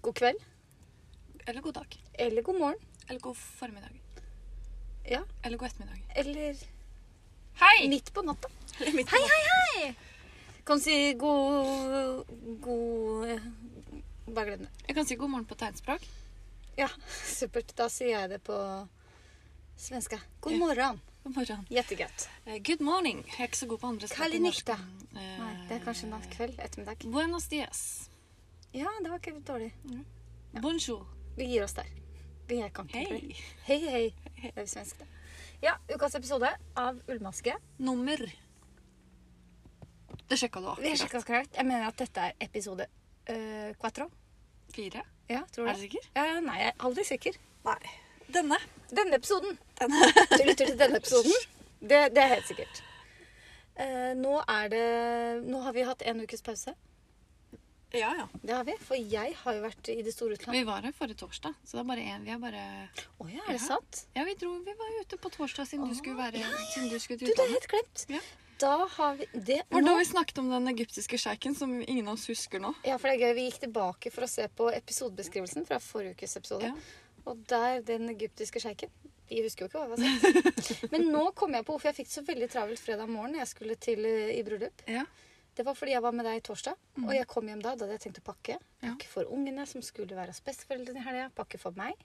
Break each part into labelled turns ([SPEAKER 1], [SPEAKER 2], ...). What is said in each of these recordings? [SPEAKER 1] God kveld.
[SPEAKER 2] Eller god dag.
[SPEAKER 1] Eller god morgen.
[SPEAKER 2] Eller god formiddag.
[SPEAKER 1] Ja.
[SPEAKER 2] Eller god ettermiddag.
[SPEAKER 1] Eller
[SPEAKER 2] Hei!
[SPEAKER 1] midt på natta.
[SPEAKER 2] Eller midt på
[SPEAKER 1] Hei, hei, hei! Kan si god God eh, Bare glem det.
[SPEAKER 2] Jeg kan si god morgen på tegnspråk.
[SPEAKER 1] Ja, supert. Da sier jeg det på svenska. God
[SPEAKER 2] Ja.
[SPEAKER 1] morgen.
[SPEAKER 2] God morgen.
[SPEAKER 1] Jättegött.
[SPEAKER 2] Eh, Good morning. Jeg er ikke så god på andre
[SPEAKER 1] Kall i
[SPEAKER 2] norsk.
[SPEAKER 1] nikta.
[SPEAKER 2] Eh,
[SPEAKER 1] Nei, det er kanskje natt, kveld, ettermiddag.
[SPEAKER 2] Buenos dias.
[SPEAKER 1] Ja, det var ikke dårlig.
[SPEAKER 2] Bonjour.
[SPEAKER 1] Vi gir oss der. Vi er contemplar.
[SPEAKER 2] Hei.
[SPEAKER 1] Hei, hei. Det er jo svensk, det. Ja, ukas episode av Ullmaske.
[SPEAKER 2] Nummer. Det sjekka du
[SPEAKER 1] Vi har
[SPEAKER 2] akkurat.
[SPEAKER 1] sjekket oss korrekt. Jeg mener at dette er episode øh, quattro.
[SPEAKER 2] Fire.
[SPEAKER 1] Ja, tror du
[SPEAKER 2] Er du
[SPEAKER 1] det?
[SPEAKER 2] sikker?
[SPEAKER 1] Ja, nei, jeg er aldri sikker.
[SPEAKER 2] Nei. Denne.
[SPEAKER 1] Denne episoden. Du lytter til denne episoden. Det, det er helt sikkert. Eh, nå er det Nå har vi hatt en ukes pause.
[SPEAKER 2] Ja, ja.
[SPEAKER 1] Det har vi. For jeg har jo vært i det store utland.
[SPEAKER 2] Vi var her forrige torsdag, så det er bare én. Vi er bare
[SPEAKER 1] Å ja, er det
[SPEAKER 2] Ja.
[SPEAKER 1] sant?
[SPEAKER 2] Ja, vi dro Vi var ute på torsdag siden du
[SPEAKER 1] Å,
[SPEAKER 2] skulle være
[SPEAKER 1] ja, ja,
[SPEAKER 2] Siden du skulle
[SPEAKER 1] Du,
[SPEAKER 2] til
[SPEAKER 1] det er
[SPEAKER 2] utlandet.
[SPEAKER 1] helt glemt.
[SPEAKER 2] Ja.
[SPEAKER 1] Da har vi det
[SPEAKER 2] Var det
[SPEAKER 1] nå.
[SPEAKER 2] da vi snakket om den egyptiske sjeiken som ingen av oss husker nå?
[SPEAKER 1] Ja, for det er gøy. Vi gikk tilbake for å se på episodebeskrivelsen fra forrige ukes episode.
[SPEAKER 2] Ja.
[SPEAKER 1] Og der den egyptiske sjeiken. Vi husker jo ikke hva vi har sagt. Men nå kom jeg på hvorfor jeg fikk så veldig travelt fredag morgen. Jeg skulle til eh, i bryllup.
[SPEAKER 2] Ja.
[SPEAKER 1] Det var fordi jeg var med deg torsdag, og jeg kom hjem da. Da hadde jeg tenkt å pakke.
[SPEAKER 2] Ja.
[SPEAKER 1] Pakke for ungene, som skulle være hos besteforeldrene i helga. Pakke for meg.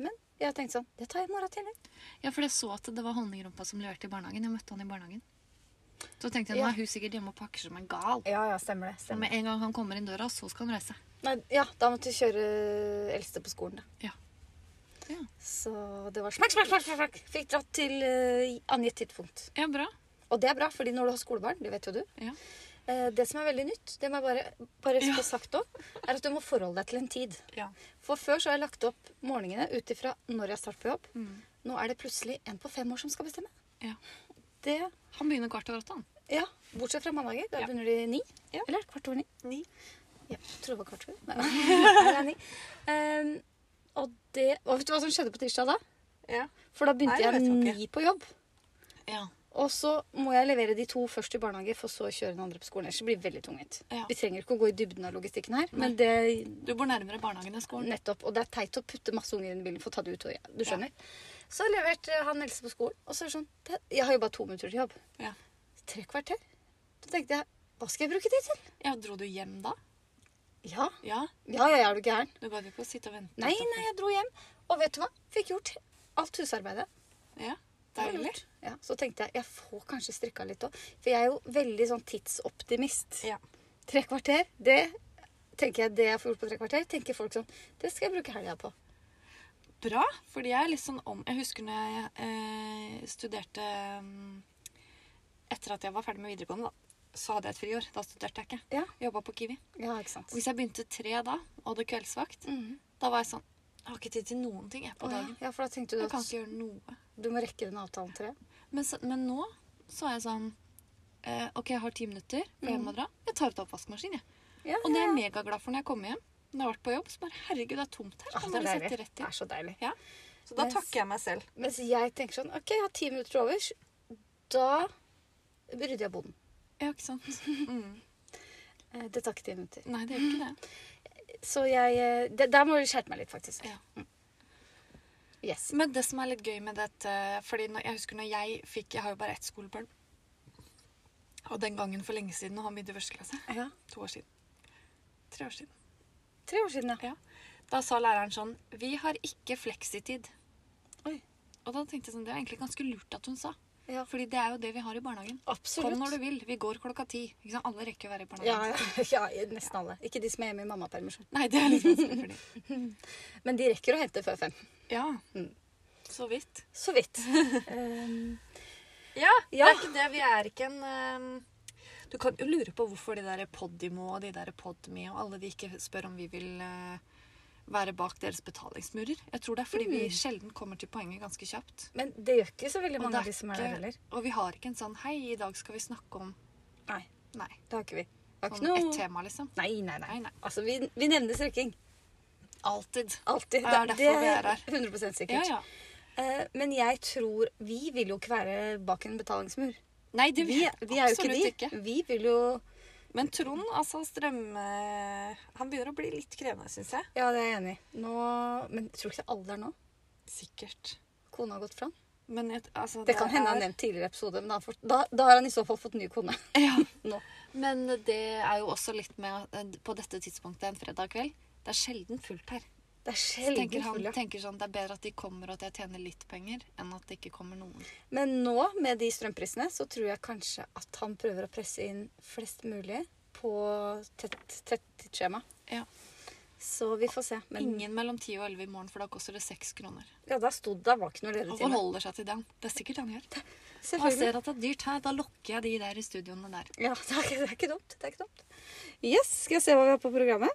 [SPEAKER 1] Men jeg tenkte sånn Det tar jeg i morgen tidlig.
[SPEAKER 2] Ja, for jeg så at det var honningrumpa som leverte i barnehagen. Jeg møtte han i barnehagen. Så tenkte jeg nå
[SPEAKER 1] Ja.
[SPEAKER 2] er hun sikkert hjemme og pakker som en gal.
[SPEAKER 1] Ja, ja, stemmer det.
[SPEAKER 2] Og med en gang han kommer inn døra, så skal han reise.
[SPEAKER 1] Nei, ja, da måtte vi kjøre eldste på skolen, da.
[SPEAKER 2] Ja. Ja,
[SPEAKER 1] Så det var smakk, smakk, smakk. smakk, smakk. Fikk dratt til eh, angitt tidspunkt.
[SPEAKER 2] ja bra.
[SPEAKER 1] Og det er bra, fordi når du har skolebarn, det vet jo du
[SPEAKER 2] Ja.
[SPEAKER 1] eh, Det som er veldig nytt, det må jeg bare, bare
[SPEAKER 2] Ja.
[SPEAKER 1] få sagt nå, er at du må forholde deg til en tid.
[SPEAKER 2] Ja.
[SPEAKER 1] For før så har jeg lagt opp morgenene ut ifra når jeg starter på jobb.
[SPEAKER 2] Mm.
[SPEAKER 1] Nå er det plutselig en på fem år som skal bestemme.
[SPEAKER 2] Ja.
[SPEAKER 1] Det,
[SPEAKER 2] Han begynner kvart over åtte, han.
[SPEAKER 1] ja, Bortsett fra mandager. Da
[SPEAKER 2] Ja.
[SPEAKER 1] begynner de ni.
[SPEAKER 2] Ja.
[SPEAKER 1] Eller kvart over ni.
[SPEAKER 2] Ni.
[SPEAKER 1] Ja, jeg tror det var kvart over. Nei, det er ni. Ehm, og, det, og vet du hva som skjedde på tirsdag da?
[SPEAKER 2] Ja.
[SPEAKER 1] For da begynte
[SPEAKER 2] Nei, det vet jeg
[SPEAKER 1] jeg ni på jobb.
[SPEAKER 2] Ja.
[SPEAKER 1] Og så må jeg levere de to først i barnehage, for så å kjøre den andre på skolen. Ellers blir det veldig tungvint.
[SPEAKER 2] Ja.
[SPEAKER 1] Vi trenger ikke å gå i dybden av logistikken her, men det
[SPEAKER 2] Du bor nærmere barnehagen enn skolen.
[SPEAKER 1] Nettopp. Og det er teit å putte masse unger inn i bilen for å ta det ut. Og, ja, du skjønner. Så leverte han Else på skolen, og så er det sånn det, Jeg har jo bare to minutter til jobb.
[SPEAKER 2] Ja.
[SPEAKER 1] Tre kvarter. Så tenkte jeg, hva skal jeg bruke det til?
[SPEAKER 2] ja. Dro du hjem da?
[SPEAKER 1] Ja, ja,
[SPEAKER 2] Ja.
[SPEAKER 1] ja, ja er du gæren?
[SPEAKER 2] Du gadd ikke å sitte og vente?
[SPEAKER 1] Nei, nei, jeg dro hjem. Og vet du hva? Fikk gjort alt husarbeidet.
[SPEAKER 2] Ja.
[SPEAKER 1] Det var
[SPEAKER 2] Deilig.
[SPEAKER 1] lurt. Ja, så tenkte jeg jeg får kanskje strikka litt òg. For jeg er jo veldig sånn tidsoptimist.
[SPEAKER 2] Ja.
[SPEAKER 1] Tre kvarter, det tenker jeg det jeg får gjort på tre kvarter, tenker folk sånn Det skal jeg bruke helga på.
[SPEAKER 2] Bra, fordi jeg er litt sånn om Jeg husker når jeg eh, studerte mm, Etter at jeg var ferdig med videregående, da, så hadde jeg et friår. Da studerte jeg ikke.
[SPEAKER 1] Ja,
[SPEAKER 2] Jeg Jobba på Kiwi.
[SPEAKER 1] ja ikke sant.
[SPEAKER 2] Og Hvis jeg begynte tre da, og hadde kveldsvakt,
[SPEAKER 1] Mhm.
[SPEAKER 2] da var jeg sånn Jeg har ikke tid til noen ting jeg på
[SPEAKER 1] Å, ja.
[SPEAKER 2] dagen.
[SPEAKER 1] ja, for da tenkte du
[SPEAKER 2] Jeg kan
[SPEAKER 1] at
[SPEAKER 2] ikke gjøre noe.
[SPEAKER 1] Du må rekke den avtalen til det.
[SPEAKER 2] Men, så, men nå så er jeg sånn eh, OK, jeg har ti minutter før jeg må dra. Jeg tar ut oppvaskmaskinen, jeg.
[SPEAKER 1] Ja,
[SPEAKER 2] Og det er jeg megaglad for når jeg kommer hjem. Når jeg har vært på jobb, så bare Herregud, det er tomt her.
[SPEAKER 1] Ah,
[SPEAKER 2] Kan
[SPEAKER 1] det, er
[SPEAKER 2] bare
[SPEAKER 1] deilig.
[SPEAKER 2] sette rett
[SPEAKER 1] det
[SPEAKER 2] i.
[SPEAKER 1] er så deilig.
[SPEAKER 2] Ja. Så da
[SPEAKER 1] Mens-
[SPEAKER 2] takker jeg meg selv.
[SPEAKER 1] Mens jeg tenker sånn OK, jeg har ti minutter til overs. Da rydder jeg boden.
[SPEAKER 2] Ja, ikke sant. Mm.
[SPEAKER 1] Eh, Det tar ikke ti minutter.
[SPEAKER 2] Nei, det gjør ikke det.
[SPEAKER 1] Så jeg eh, det, Der må du skjerpe meg litt, faktisk.
[SPEAKER 2] Ja.
[SPEAKER 1] Mm. Yes.
[SPEAKER 2] Men det som er litt gøy med dette fordi når, Jeg husker når jeg fikk Jeg har jo bare ett skolebarn. Og den gangen for lenge siden, og han begynte i første klasse.
[SPEAKER 1] Ja.
[SPEAKER 2] To år siden. Tre år siden.
[SPEAKER 1] Tre år siden, ja.
[SPEAKER 2] Ja. Da sa læreren sånn Vi har ikke fleksitid.
[SPEAKER 1] Oi.
[SPEAKER 2] Og da tenkte jeg sånn Det er egentlig ganske lurt at hun sa.
[SPEAKER 1] Ja.
[SPEAKER 2] Fordi det er jo det vi har i barnehagen.
[SPEAKER 1] Absolutt.
[SPEAKER 2] Kom når du vil. Vi går klokka ti. Ikke sant? Alle rekker å være i
[SPEAKER 1] Ja,
[SPEAKER 2] barnehagen.
[SPEAKER 1] ja, ja, nesten alle. Ikke de som er hjemme i mammapermisjon.
[SPEAKER 2] Nei, det er litt vanskelig for dem.
[SPEAKER 1] Men de rekker å hente før fem.
[SPEAKER 2] Ja.
[SPEAKER 1] Mm.
[SPEAKER 2] Så vidt.
[SPEAKER 1] Så vidt.
[SPEAKER 2] Eh, Ja,
[SPEAKER 1] Ja.
[SPEAKER 2] det er ikke det. Vi er ikke en ehm, Du kan jo lure på hvorfor de der Podimo og de der Podme og alle de ikke spør om vi vil eh, være bak deres betalingsmurer. Jeg tror det er fordi
[SPEAKER 1] Mm.
[SPEAKER 2] vi sjelden kommer til poenget ganske kjapt.
[SPEAKER 1] Men det gjør ikke så veldig
[SPEAKER 2] Og
[SPEAKER 1] mange
[SPEAKER 2] det
[SPEAKER 1] av de som er der heller.
[SPEAKER 2] og vi har ikke en sånn 'hei, i dag skal vi snakke om'
[SPEAKER 1] Nei,
[SPEAKER 2] Nei.
[SPEAKER 1] det har ikke vi. Det har
[SPEAKER 2] Sånn
[SPEAKER 1] ikke noe...
[SPEAKER 2] ett tema, liksom.
[SPEAKER 1] Nei, nei, nei.
[SPEAKER 2] Nei, nei.
[SPEAKER 1] Altså, vi, vi nevner strikking.
[SPEAKER 2] Alltid.
[SPEAKER 1] Alltid.
[SPEAKER 2] Det er derfor vi er her.
[SPEAKER 1] 100 sikkert.
[SPEAKER 2] Ja, ja.
[SPEAKER 1] Eh, men jeg tror Vi vil jo ikke være bak en betalingsmur.
[SPEAKER 2] Nei, det
[SPEAKER 1] Vi, vi er jo ikke de.
[SPEAKER 2] absolutt ikke.
[SPEAKER 1] Vi vil jo
[SPEAKER 2] Men Trond, altså strøm... eh, Han begynner å bli litt krevende, syns jeg.
[SPEAKER 1] Ja, det er jeg enig i. Nå Men tror du ikke alle er nå?
[SPEAKER 2] Sikkert.
[SPEAKER 1] Kona har gått fra han.
[SPEAKER 2] Men jeg, altså,
[SPEAKER 1] Det kan hende han har
[SPEAKER 2] er-
[SPEAKER 1] nevnt tidligere episode, men da, har han fått- da, da har han i så fall fått ny kone.
[SPEAKER 2] Ja.
[SPEAKER 1] Nå.
[SPEAKER 2] Men det er jo også litt med at, eh, på dette tidspunktet en fredag kveld. Det er sjelden fullt her.
[SPEAKER 1] Det er
[SPEAKER 2] Så
[SPEAKER 1] sjelden
[SPEAKER 2] tenker han
[SPEAKER 1] full, ja.
[SPEAKER 2] tenker sånn, det er bedre at de kommer og at jeg tjener litt penger, enn at det ikke kommer noen.
[SPEAKER 1] Men nå, med de strømprisene, så tror jeg kanskje at han prøver å presse inn flest mulig på tett, tett skjema.
[SPEAKER 2] Ja.
[SPEAKER 1] Så vi får se. Men
[SPEAKER 2] Ingen mellom 10 og 11 i morgen, for da koster det 6 kroner.
[SPEAKER 1] ja, da stod det, da var ikke noe
[SPEAKER 2] Han
[SPEAKER 1] ledig time.
[SPEAKER 2] forholder seg til den. Det er sikkert han gjør. Og jeg
[SPEAKER 1] Selvfølgelig.
[SPEAKER 2] ser at det er dyrt her, da lokker jeg de der i studioene der.
[SPEAKER 1] Ja, det er, ikke, det er ikke dumt. Det er ikke dumt. Yes, skal jeg se hva vi har på programmet?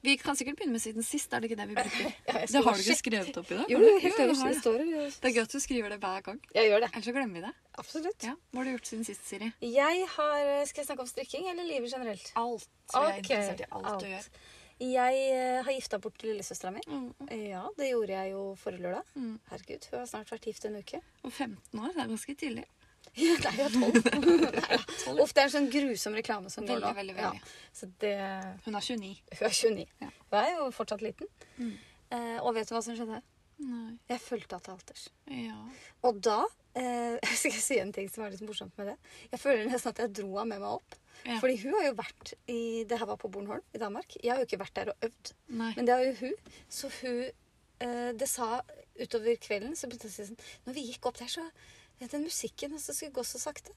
[SPEAKER 2] Vi kan sikkert begynne med siden sist, er det ikke det vi bruker?
[SPEAKER 1] Ja, jeg
[SPEAKER 2] Det
[SPEAKER 1] skal
[SPEAKER 2] har du
[SPEAKER 1] bare
[SPEAKER 2] ikke skrevet opp i dag?
[SPEAKER 1] Jo,
[SPEAKER 2] har du?
[SPEAKER 1] helt
[SPEAKER 2] Jo, jeg
[SPEAKER 1] øverst.
[SPEAKER 2] har
[SPEAKER 1] Det
[SPEAKER 2] det.
[SPEAKER 1] står det.
[SPEAKER 2] Det er gøy at du skriver det hver gang.
[SPEAKER 1] Jeg gjør det.
[SPEAKER 2] Ellers så glemmer vi det.
[SPEAKER 1] Absolutt.
[SPEAKER 2] Ja. Hva har du gjort siden sist, Siri?
[SPEAKER 1] Jeg har Skal jeg snakke om strikking eller livet generelt?
[SPEAKER 2] Alt. Så jeg er
[SPEAKER 1] Ok,
[SPEAKER 2] interessert i alt, du gjør.
[SPEAKER 1] Jeg eh, har gifta bort til lillesøstera mi.
[SPEAKER 2] Mm.
[SPEAKER 1] Ja, det gjorde jeg jo forrige lørdag.
[SPEAKER 2] Mm.
[SPEAKER 1] Herregud, hun har snart vært gift en uke.
[SPEAKER 2] Og 15 år, det er ganske tidlig.
[SPEAKER 1] Nei, jeg har tolv. Uff, det er en sånn grusom reklame som går
[SPEAKER 2] Veldig,
[SPEAKER 1] nå.
[SPEAKER 2] veldig, veldig.
[SPEAKER 1] Ja, så det
[SPEAKER 2] Hun er 29.
[SPEAKER 1] Hun er 29.
[SPEAKER 2] Ja.
[SPEAKER 1] Hun er jo fortsatt liten.
[SPEAKER 2] Mm.
[SPEAKER 1] Eh, og vet du hva som skjedde?
[SPEAKER 2] Nei.
[SPEAKER 1] Jeg fulgte henne til alters.
[SPEAKER 2] Ja.
[SPEAKER 1] Og da eh, skal jeg si en ting som er litt morsomt med det. Jeg føler nesten at jeg dro henne med meg opp.
[SPEAKER 2] Ja.
[SPEAKER 1] Fordi hun har jo vært i Det her var på Bornholm i Danmark. Jeg har jo ikke vært der og øvd.
[SPEAKER 2] Nei.
[SPEAKER 1] Men det har jo hun. Så hun eh, Det sa utover kvelden så begynte jeg å si sånn Når vi gikk opp der, så ja, Den musikken altså, skulle gå så sakte.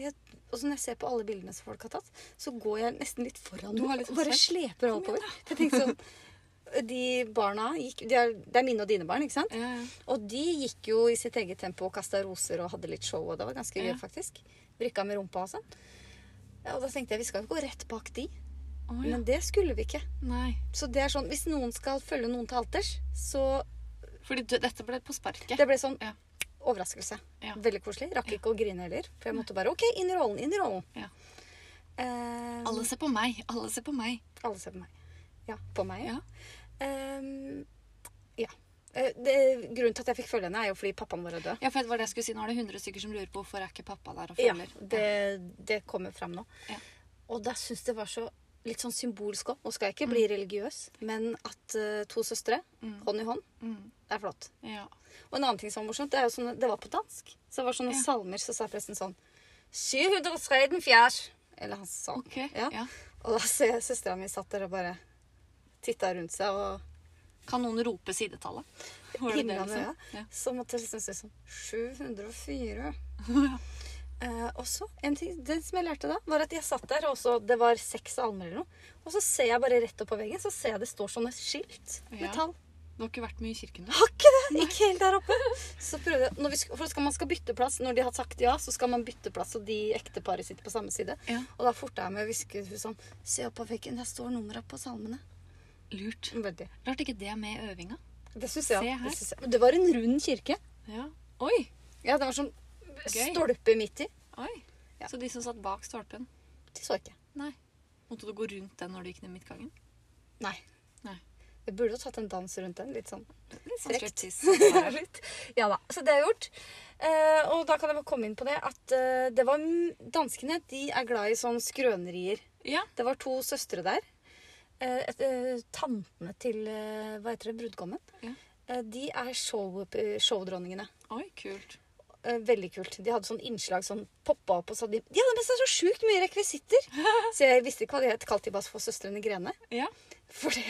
[SPEAKER 1] Jeg, og så når jeg ser på alle bildene som folk har tatt, så går jeg nesten litt foran
[SPEAKER 2] Du har
[SPEAKER 1] henne
[SPEAKER 2] litt sånn
[SPEAKER 1] og bare
[SPEAKER 2] ansvar.
[SPEAKER 1] sleper henne oppover. Jeg tenkte sånn De barna gikk de er, Det er mine og dine barn, ikke sant?
[SPEAKER 2] Ja, ja.
[SPEAKER 1] Og de gikk jo i sitt eget tempo og kasta roser og hadde litt show, og det var ganske gøy,
[SPEAKER 2] Ja.
[SPEAKER 1] faktisk. Vrikka med rumpa og sånn. Ja, og da tenkte jeg vi skal jo gå rett bak de,
[SPEAKER 2] Å, ja.
[SPEAKER 1] men det skulle vi ikke.
[SPEAKER 2] Nei.
[SPEAKER 1] Så det er sånn, Hvis noen skal følge noen til alters, så
[SPEAKER 2] Fordi du, dette ble på sparket.
[SPEAKER 1] Det ble sånn
[SPEAKER 2] Ja.
[SPEAKER 1] overraskelse.
[SPEAKER 2] Ja.
[SPEAKER 1] Veldig koselig. Rakk ikke å grine heller. For jeg måtte bare OK, inn i rollen, inn i rollen.
[SPEAKER 2] Ja.
[SPEAKER 1] Eh,
[SPEAKER 2] Alle ser på meg. Alle ser på meg.
[SPEAKER 1] alle ser på meg. Ja, på meg.
[SPEAKER 2] Ja.
[SPEAKER 1] Ehm, ja. Eh, det, grunnen til at jeg fikk følge henne, er jo fordi pappaen vår er død.
[SPEAKER 2] Ja, for det var det jeg skulle si. Nå er det 100 stykker som lurer på hvorfor er ikke pappa der og
[SPEAKER 1] Ja,
[SPEAKER 2] følger.
[SPEAKER 1] det, det kommer fram nå.
[SPEAKER 2] Ja.
[SPEAKER 1] Og da syns det var så litt sånn symbolsk òg. Nå skal jeg ikke bli religiøs, men at eh, to søstre,
[SPEAKER 2] Mm.
[SPEAKER 1] hånd i hånd,
[SPEAKER 2] Mm.
[SPEAKER 1] det er flott.
[SPEAKER 2] Ja.
[SPEAKER 1] Og en annen ting som var morsomt, det, er jo sånne, det var på dansk. Så det var sånne
[SPEAKER 2] Ja.
[SPEAKER 1] salmer, så sa presten sånn 734. Eller han sa.
[SPEAKER 2] Ok.
[SPEAKER 1] Ja.
[SPEAKER 2] Ja.
[SPEAKER 1] Og da ser jeg søstera mi satt der og bare titta rundt seg, og
[SPEAKER 2] Kan noen rope sidetallet? Var det det,
[SPEAKER 1] himla med øya.
[SPEAKER 2] liksom? Ja.
[SPEAKER 1] Så måtte jeg liksom si sånn 704. Eh, og så, en ting det som jeg lærte da, var at jeg satt der, og så, det var seks salmer eller noe. Og så ser jeg bare rett opp på veggen, så ser jeg det står sånne skilt med
[SPEAKER 2] Ja.
[SPEAKER 1] tall.
[SPEAKER 2] Du har ikke vært mye i kirken, du?
[SPEAKER 1] Har ikke det! Ikke helt der oppe. Så prøvde jeg, når vi, sk- for skal man skal bytte plass, når de har sagt ja, så skal man bytte plass, og de ekteparet sitter på samme side.
[SPEAKER 2] Ja.
[SPEAKER 1] Og da forta jeg meg å hviske til hun sånn Se opp på veggen, der står numra på salmene.
[SPEAKER 2] Lurt.
[SPEAKER 1] Veldig.
[SPEAKER 2] Rart ikke det er med i øvinga.
[SPEAKER 1] Det syns jeg.
[SPEAKER 2] Se
[SPEAKER 1] ja.
[SPEAKER 2] her.
[SPEAKER 1] Det, synes jeg. Men det var en rund kirke.
[SPEAKER 2] Ja. Oi!
[SPEAKER 1] Ja, det var sånn
[SPEAKER 2] Gøy.
[SPEAKER 1] stolpe midt i.
[SPEAKER 2] Oi.
[SPEAKER 1] Ja.
[SPEAKER 2] Så de som satt bak stolpen
[SPEAKER 1] De så ikke.
[SPEAKER 2] Nei. Måtte du gå rundt den når du gikk ned midtgangen?
[SPEAKER 1] Nei.
[SPEAKER 2] Nei.
[SPEAKER 1] Jeg burde jo tatt en dans rundt den. Litt sånn.
[SPEAKER 2] Litt
[SPEAKER 1] Frekt.
[SPEAKER 2] striptease.
[SPEAKER 1] Litt. ja da. Så det er gjort. Eh, og da kan jeg bare komme inn på det at eh, det var m- Danskene de er glad i sånn skrønerier.
[SPEAKER 2] Ja.
[SPEAKER 1] Det var to søstre der. Eh, et, eh, tantene til eh, hva heter det, brudgommen.
[SPEAKER 2] Ja.
[SPEAKER 1] Eh, de er show, eh, showdronningene.
[SPEAKER 2] Oi, kult.
[SPEAKER 1] Eh, veldig kult. De hadde sånn innslag som poppa opp og sa de, de hadde med seg så sjukt mye rekvisitter! så jeg visste ikke hva de het. Kalte de bare for Søstrene Grene.
[SPEAKER 2] Ja.
[SPEAKER 1] For det,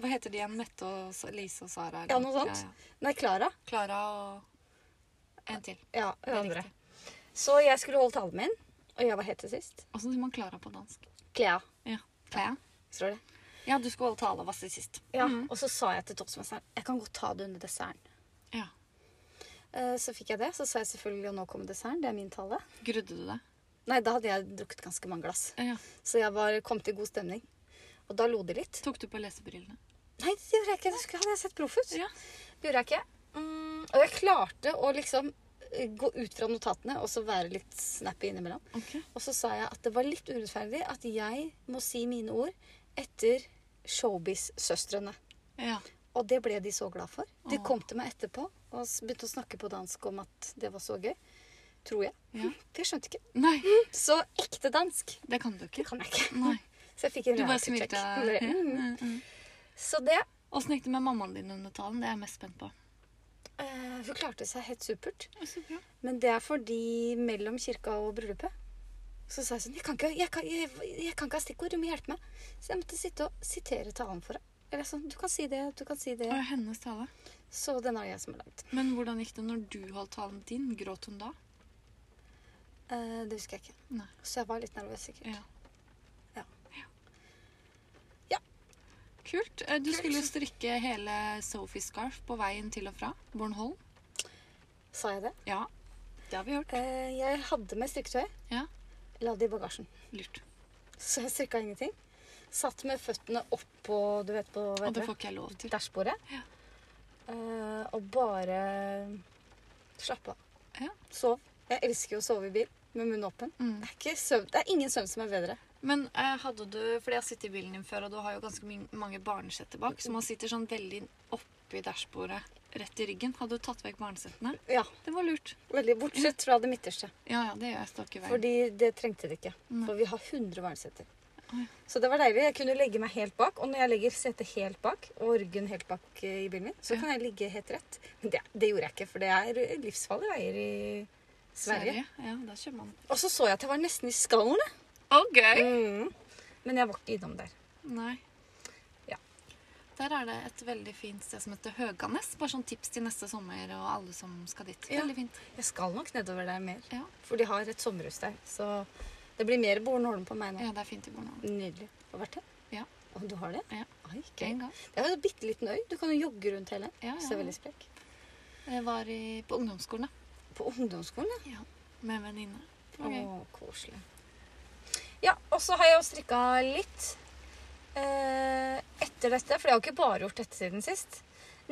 [SPEAKER 2] Hva heter de igjen? Mette og Sa- Lise og Sara? eller
[SPEAKER 1] ja, noe sånt. Nei, Klara.
[SPEAKER 2] Klara og en til.
[SPEAKER 1] Ja,
[SPEAKER 2] Det
[SPEAKER 1] hun
[SPEAKER 2] er
[SPEAKER 1] andre.
[SPEAKER 2] riktig.
[SPEAKER 1] Så jeg skulle holde talen min, og jeg var helt til sist.
[SPEAKER 2] Åssen sier man Klara på dansk?
[SPEAKER 1] Klea.
[SPEAKER 2] Ja. Klæ.
[SPEAKER 1] Tror det.
[SPEAKER 2] Ja, du skulle holde tale og vasse sist.
[SPEAKER 1] Ja. Og så sa jeg til toastmesteren jeg kan godt ta det under desserten.
[SPEAKER 2] Ja.
[SPEAKER 1] Eh, Så fikk jeg det. Så sa jeg selvfølgelig og nå kommer desserten. Det er min tale.
[SPEAKER 2] Grudde du deg?
[SPEAKER 1] Nei, da hadde jeg drukket ganske mange glass.
[SPEAKER 2] Ja.
[SPEAKER 1] Så jeg var, kom til god stemning. Og da lo de litt.
[SPEAKER 2] Tok du på lesebrillene?
[SPEAKER 1] Nei, det gjorde jeg ikke. Det skulle, hadde jeg sett Proffus.
[SPEAKER 2] Ja.
[SPEAKER 1] Det gjorde jeg ikke. Mm, og jeg klarte å liksom eh, gå ut fra notatene og så være litt snappy innimellom.
[SPEAKER 2] Ok.
[SPEAKER 1] Og så sa jeg at det var litt urettferdig at jeg må si mine ord etter Showbiz-søstrene.
[SPEAKER 2] Ja.
[SPEAKER 1] Og det ble de så glad for. De
[SPEAKER 2] Åh.
[SPEAKER 1] kom til meg etterpå og s- begynte å snakke på dansk om at det var så gøy. Tror jeg. Hm,
[SPEAKER 2] Ja.
[SPEAKER 1] For jeg skjønte ikke.
[SPEAKER 2] Nei,
[SPEAKER 1] Så ekte dansk
[SPEAKER 2] det kan du ikke.
[SPEAKER 1] kan jeg ikke.
[SPEAKER 2] Nei.
[SPEAKER 1] Så jeg fikk en
[SPEAKER 2] Du bare
[SPEAKER 1] reality check.
[SPEAKER 2] smilte.
[SPEAKER 1] Mm.
[SPEAKER 2] Mm, mm.
[SPEAKER 1] Så det
[SPEAKER 2] Åssen gikk det med mammaen din under talen? Det er jeg mest spent på.
[SPEAKER 1] eh, Hun klarte seg helt supert.
[SPEAKER 2] Så bra.
[SPEAKER 1] Men det er fordi mellom kirka og bryllupet så sa jeg sånn Jeg kan ikke, jeg kan, jeg, jeg kan ikke ha stikkord. Du må hjelpe meg. Så jeg måtte sitte og sitere talen for henne. Eller sånn Du kan si det, du kan si det.
[SPEAKER 2] Og hennes tale.
[SPEAKER 1] Så den er jeg som har lagd.
[SPEAKER 2] Men hvordan gikk det når du holdt talen din? Gråt hun da?
[SPEAKER 1] Eh, det husker jeg ikke.
[SPEAKER 2] Nei.
[SPEAKER 1] Så jeg var litt nervøs, sikkert.
[SPEAKER 2] Ja.
[SPEAKER 1] Ja.
[SPEAKER 2] Ja.
[SPEAKER 1] Ja.
[SPEAKER 2] Kult. Eh, Du
[SPEAKER 1] Kult.
[SPEAKER 2] skulle strikke hele Sophie Scarf på veien til og fra Bornholm.
[SPEAKER 1] Sa jeg det?
[SPEAKER 2] Ja, det har vi hørt.
[SPEAKER 1] Eh, jeg hadde med strikketøy.
[SPEAKER 2] Ja.
[SPEAKER 1] La det i bagasjen.
[SPEAKER 2] Lurt.
[SPEAKER 1] Så jeg strikka ingenting. Satt med føttene oppå du vet, på hva
[SPEAKER 2] Og det
[SPEAKER 1] heter
[SPEAKER 2] får ikke jeg lov
[SPEAKER 1] det,
[SPEAKER 2] til.
[SPEAKER 1] dashbordet.
[SPEAKER 2] Ja.
[SPEAKER 1] Eh, og bare slappa av.
[SPEAKER 2] Ja.
[SPEAKER 1] Sov. Jeg elsker jo å sove i bil med munnen åpen.
[SPEAKER 2] Mm.
[SPEAKER 1] Det er, ikke søvn. det er ingen søvn som er bedre.
[SPEAKER 2] Men eh, hadde du Fordi jeg har sittet i bilen din før, og du har jo ganske min- mange barnesetter bak, så man sitter sånn veldig oppi dashbordet, rett i ryggen. Hadde du tatt vekk barnesettene?
[SPEAKER 1] Ja,
[SPEAKER 2] Det var lurt.
[SPEAKER 1] veldig Bortsett fra det midterste.
[SPEAKER 2] Ja, ja, det gjør jeg. Står ikke i veien.
[SPEAKER 1] Fordi det trengte det ikke.
[SPEAKER 2] Nei.
[SPEAKER 1] For vi har 100 barneseter.
[SPEAKER 2] Oi.
[SPEAKER 1] Så det var deilig. Jeg kunne legge meg helt bak. Og når jeg legger setet helt bak, og ryggen helt bak eh, i bilen min, så
[SPEAKER 2] Ja.
[SPEAKER 1] kan jeg ligge helt rett. Men det, det gjorde jeg ikke, for det er livsfarlige veier i Sverige.
[SPEAKER 2] Ja, da kjører man.
[SPEAKER 1] Og så så jeg at jeg var nesten i skallen.
[SPEAKER 2] OK!
[SPEAKER 1] Mm. Men jeg var ikke innom der.
[SPEAKER 2] Nei.
[SPEAKER 1] Ja.
[SPEAKER 2] Der er det et veldig fint sted som heter Høganes. Bare sånn tips til neste sommer og alle som skal dit.
[SPEAKER 1] Ja.
[SPEAKER 2] Veldig fint.
[SPEAKER 1] Jeg skal nok nedover der mer,
[SPEAKER 2] Ja,
[SPEAKER 1] for de har et sommerhus der. Så det blir mer Bornholm på meg nå.
[SPEAKER 2] ja det er fint i Bornholm.
[SPEAKER 1] Nydelig. Har du vært der?
[SPEAKER 2] Ja.
[SPEAKER 1] Å, du har det?
[SPEAKER 2] Ja.
[SPEAKER 1] Oi, gøy.
[SPEAKER 2] En gang.
[SPEAKER 1] Det er jo en bitte liten øy. Du kan jo jogge rundt hele.
[SPEAKER 2] Ja,
[SPEAKER 1] Så det er
[SPEAKER 2] ja.
[SPEAKER 1] veldig sprek.
[SPEAKER 2] Jeg var i, på ungdomsskolen da,
[SPEAKER 1] På ungdomsskolen, ja.
[SPEAKER 2] med en venninne.
[SPEAKER 1] Okay.
[SPEAKER 2] Ok.
[SPEAKER 1] Å, koselig. Ja, og så har jeg jo strikka litt eh, etter dette, for jeg har jo ikke bare gjort dette siden sist.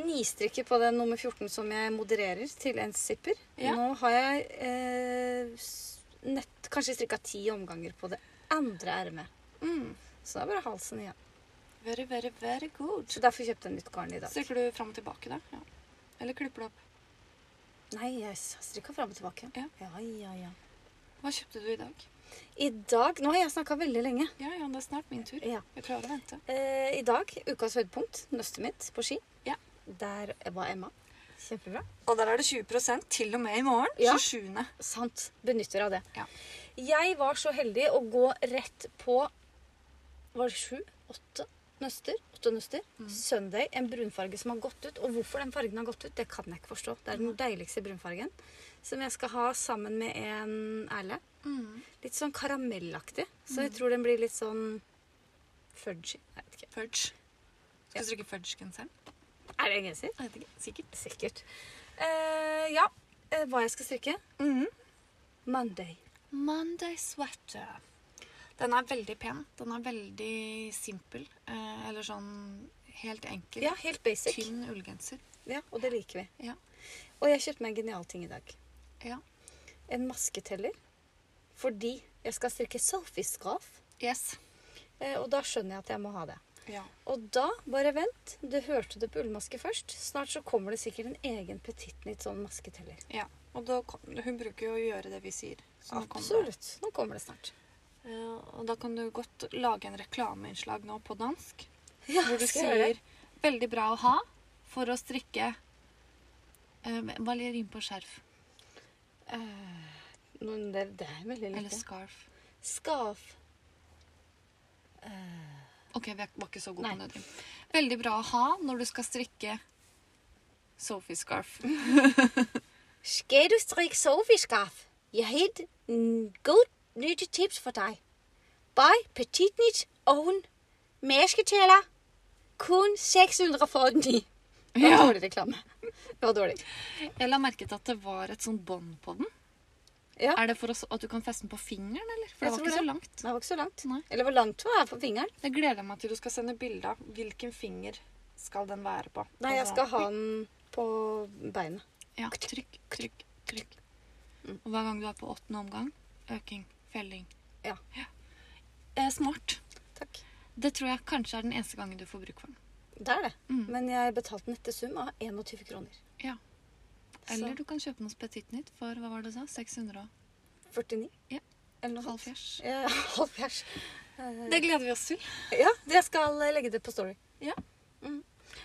[SPEAKER 1] Nistrikker på den nummer 14 som jeg modererer til en zipper.
[SPEAKER 2] Ja.
[SPEAKER 1] Nå har jeg eh, s- nett, kanskje strikka ti omganger på det andre ermet.
[SPEAKER 2] Mm.
[SPEAKER 1] Så det er bare halsen igjen.
[SPEAKER 2] Very, very, very good.
[SPEAKER 1] Så derfor kjøpte jeg nytt garn i dag.
[SPEAKER 2] Strikker du fram og tilbake da? Ja. Eller klipper du opp?
[SPEAKER 1] Nei, jeg s- har strikka fram og tilbake.
[SPEAKER 2] Ja.
[SPEAKER 1] ja, ja. ja.
[SPEAKER 2] Hva kjøpte du i dag?
[SPEAKER 1] I dag Nå har jeg snakka veldig lenge.
[SPEAKER 2] Ja, ja, det er snart min tur.
[SPEAKER 1] Ja.
[SPEAKER 2] Jeg klarer å vente.
[SPEAKER 1] Eh, I dag, ukas høydepunkt, nøstet mitt på ski.
[SPEAKER 2] Ja.
[SPEAKER 1] Der var Emma. Kjempebra.
[SPEAKER 2] Og der er det 20 til og med i morgen.
[SPEAKER 1] Ja.
[SPEAKER 2] 27.
[SPEAKER 1] Sant. Benytter av det.
[SPEAKER 2] Ja.
[SPEAKER 1] Jeg var så heldig å gå rett på Var det sju? Åtte nøster? Åtte nøster.
[SPEAKER 2] Mm.
[SPEAKER 1] Sunday. En brunfarge som har gått ut. Og hvorfor den fargen har gått ut, det kan jeg ikke forstå. Det er
[SPEAKER 2] Mm.
[SPEAKER 1] den deiligste brunfargen. Som jeg skal ha sammen med en Erle.
[SPEAKER 2] Mm.
[SPEAKER 1] Litt sånn karamellaktig. Så jeg tror den blir litt sånn fudgy. Jeg vet ikke.
[SPEAKER 2] Fudge. Skal
[SPEAKER 1] Ja.
[SPEAKER 2] du strikke fudge-genseren?
[SPEAKER 1] Er det en genser?
[SPEAKER 2] Jeg vet ikke. Sikkert.
[SPEAKER 1] Sikkert. Eh, ja, eh, hva jeg skal strikke?
[SPEAKER 2] Mm.
[SPEAKER 1] Monday.
[SPEAKER 2] Monday sweater. Den er veldig pen. Den er veldig simpel. Eh, eller sånn helt enkel.
[SPEAKER 1] Ja, helt basic.
[SPEAKER 2] Tynn ullgenser.
[SPEAKER 1] Ja, og det liker vi.
[SPEAKER 2] Ja.
[SPEAKER 1] Og jeg kjøpte meg en genial ting i dag.
[SPEAKER 2] ja.
[SPEAKER 1] En masketeller. Fordi jeg skal strikke selfiescarf.
[SPEAKER 2] Yes.
[SPEAKER 1] Eh, og da skjønner jeg at jeg må ha det.
[SPEAKER 2] Ja.
[SPEAKER 1] Og da, bare vent, du hørte det på ullmaske først. Snart så kommer det sikkert en egen petittnytt sånn masketeller.
[SPEAKER 2] ja. Og da kom, hun bruker jo å gjøre det vi sier. Så nå kommer det.
[SPEAKER 1] Absolutt. Nå kommer det snart.
[SPEAKER 2] Eh, og da kan du godt lage en reklameinnslag nå på dansk.
[SPEAKER 1] Ja,
[SPEAKER 2] Hvor du sier 'veldig bra å ha' for å strikke eh, ballerin på skjerf.
[SPEAKER 1] Nå, det, det er veldig
[SPEAKER 2] Eller
[SPEAKER 1] lite.
[SPEAKER 2] scarf.
[SPEAKER 1] Scarf.
[SPEAKER 2] Ok, vi er- var ikke så gode på
[SPEAKER 1] Nei.
[SPEAKER 2] nødrim. Veldig bra å ha når du skal strikke Sophie scarf.
[SPEAKER 1] Skal du strikke Sophie-skarf? Jeg har et mm, godt nytt tips for deg. Buy Petitnit oven masketeller. Kun 649. Det var
[SPEAKER 2] Ja.
[SPEAKER 1] dårlig reklame. Det var dårlig.
[SPEAKER 2] Jeg la merke til at det var et sånn bånd på den.
[SPEAKER 1] Ja.
[SPEAKER 2] Er det for oss, at du kan feste den på fingeren, eller? For
[SPEAKER 1] Jeg
[SPEAKER 2] det var
[SPEAKER 1] tror
[SPEAKER 2] ikke så
[SPEAKER 1] det.
[SPEAKER 2] langt.
[SPEAKER 1] Det var ikke så langt.
[SPEAKER 2] Nei.
[SPEAKER 1] Eller hvor langt var jeg på fingeren?
[SPEAKER 2] Jeg gleder meg til du skal sende bilde av hvilken finger skal den være på.
[SPEAKER 1] Nei, jeg
[SPEAKER 2] Altså,
[SPEAKER 1] skal ha den på beinet.
[SPEAKER 2] Ja, trykk, trykk, trykk. Og hver gang du er på åttende omgang, øking, felling.
[SPEAKER 1] Ja.
[SPEAKER 2] Eh, smart.
[SPEAKER 1] Takk.
[SPEAKER 2] Det tror jeg kanskje er den eneste gangen du får bruk for den.
[SPEAKER 1] Det er det.
[SPEAKER 2] Mm.
[SPEAKER 1] Men jeg betalte nette sum av 21 kroner.
[SPEAKER 2] Ja. Eller du kan kjøpe noe Petit Nytt for hva var det du sa? 600 og
[SPEAKER 1] 49.
[SPEAKER 2] Ja.
[SPEAKER 1] Eller noe sånt.
[SPEAKER 2] halvfjerds?
[SPEAKER 1] Ja, halvfjerds. Eh,
[SPEAKER 2] Det gleder vi oss til.
[SPEAKER 1] Ja, jeg skal eh, legge det på story.
[SPEAKER 2] Ja.
[SPEAKER 1] Mm.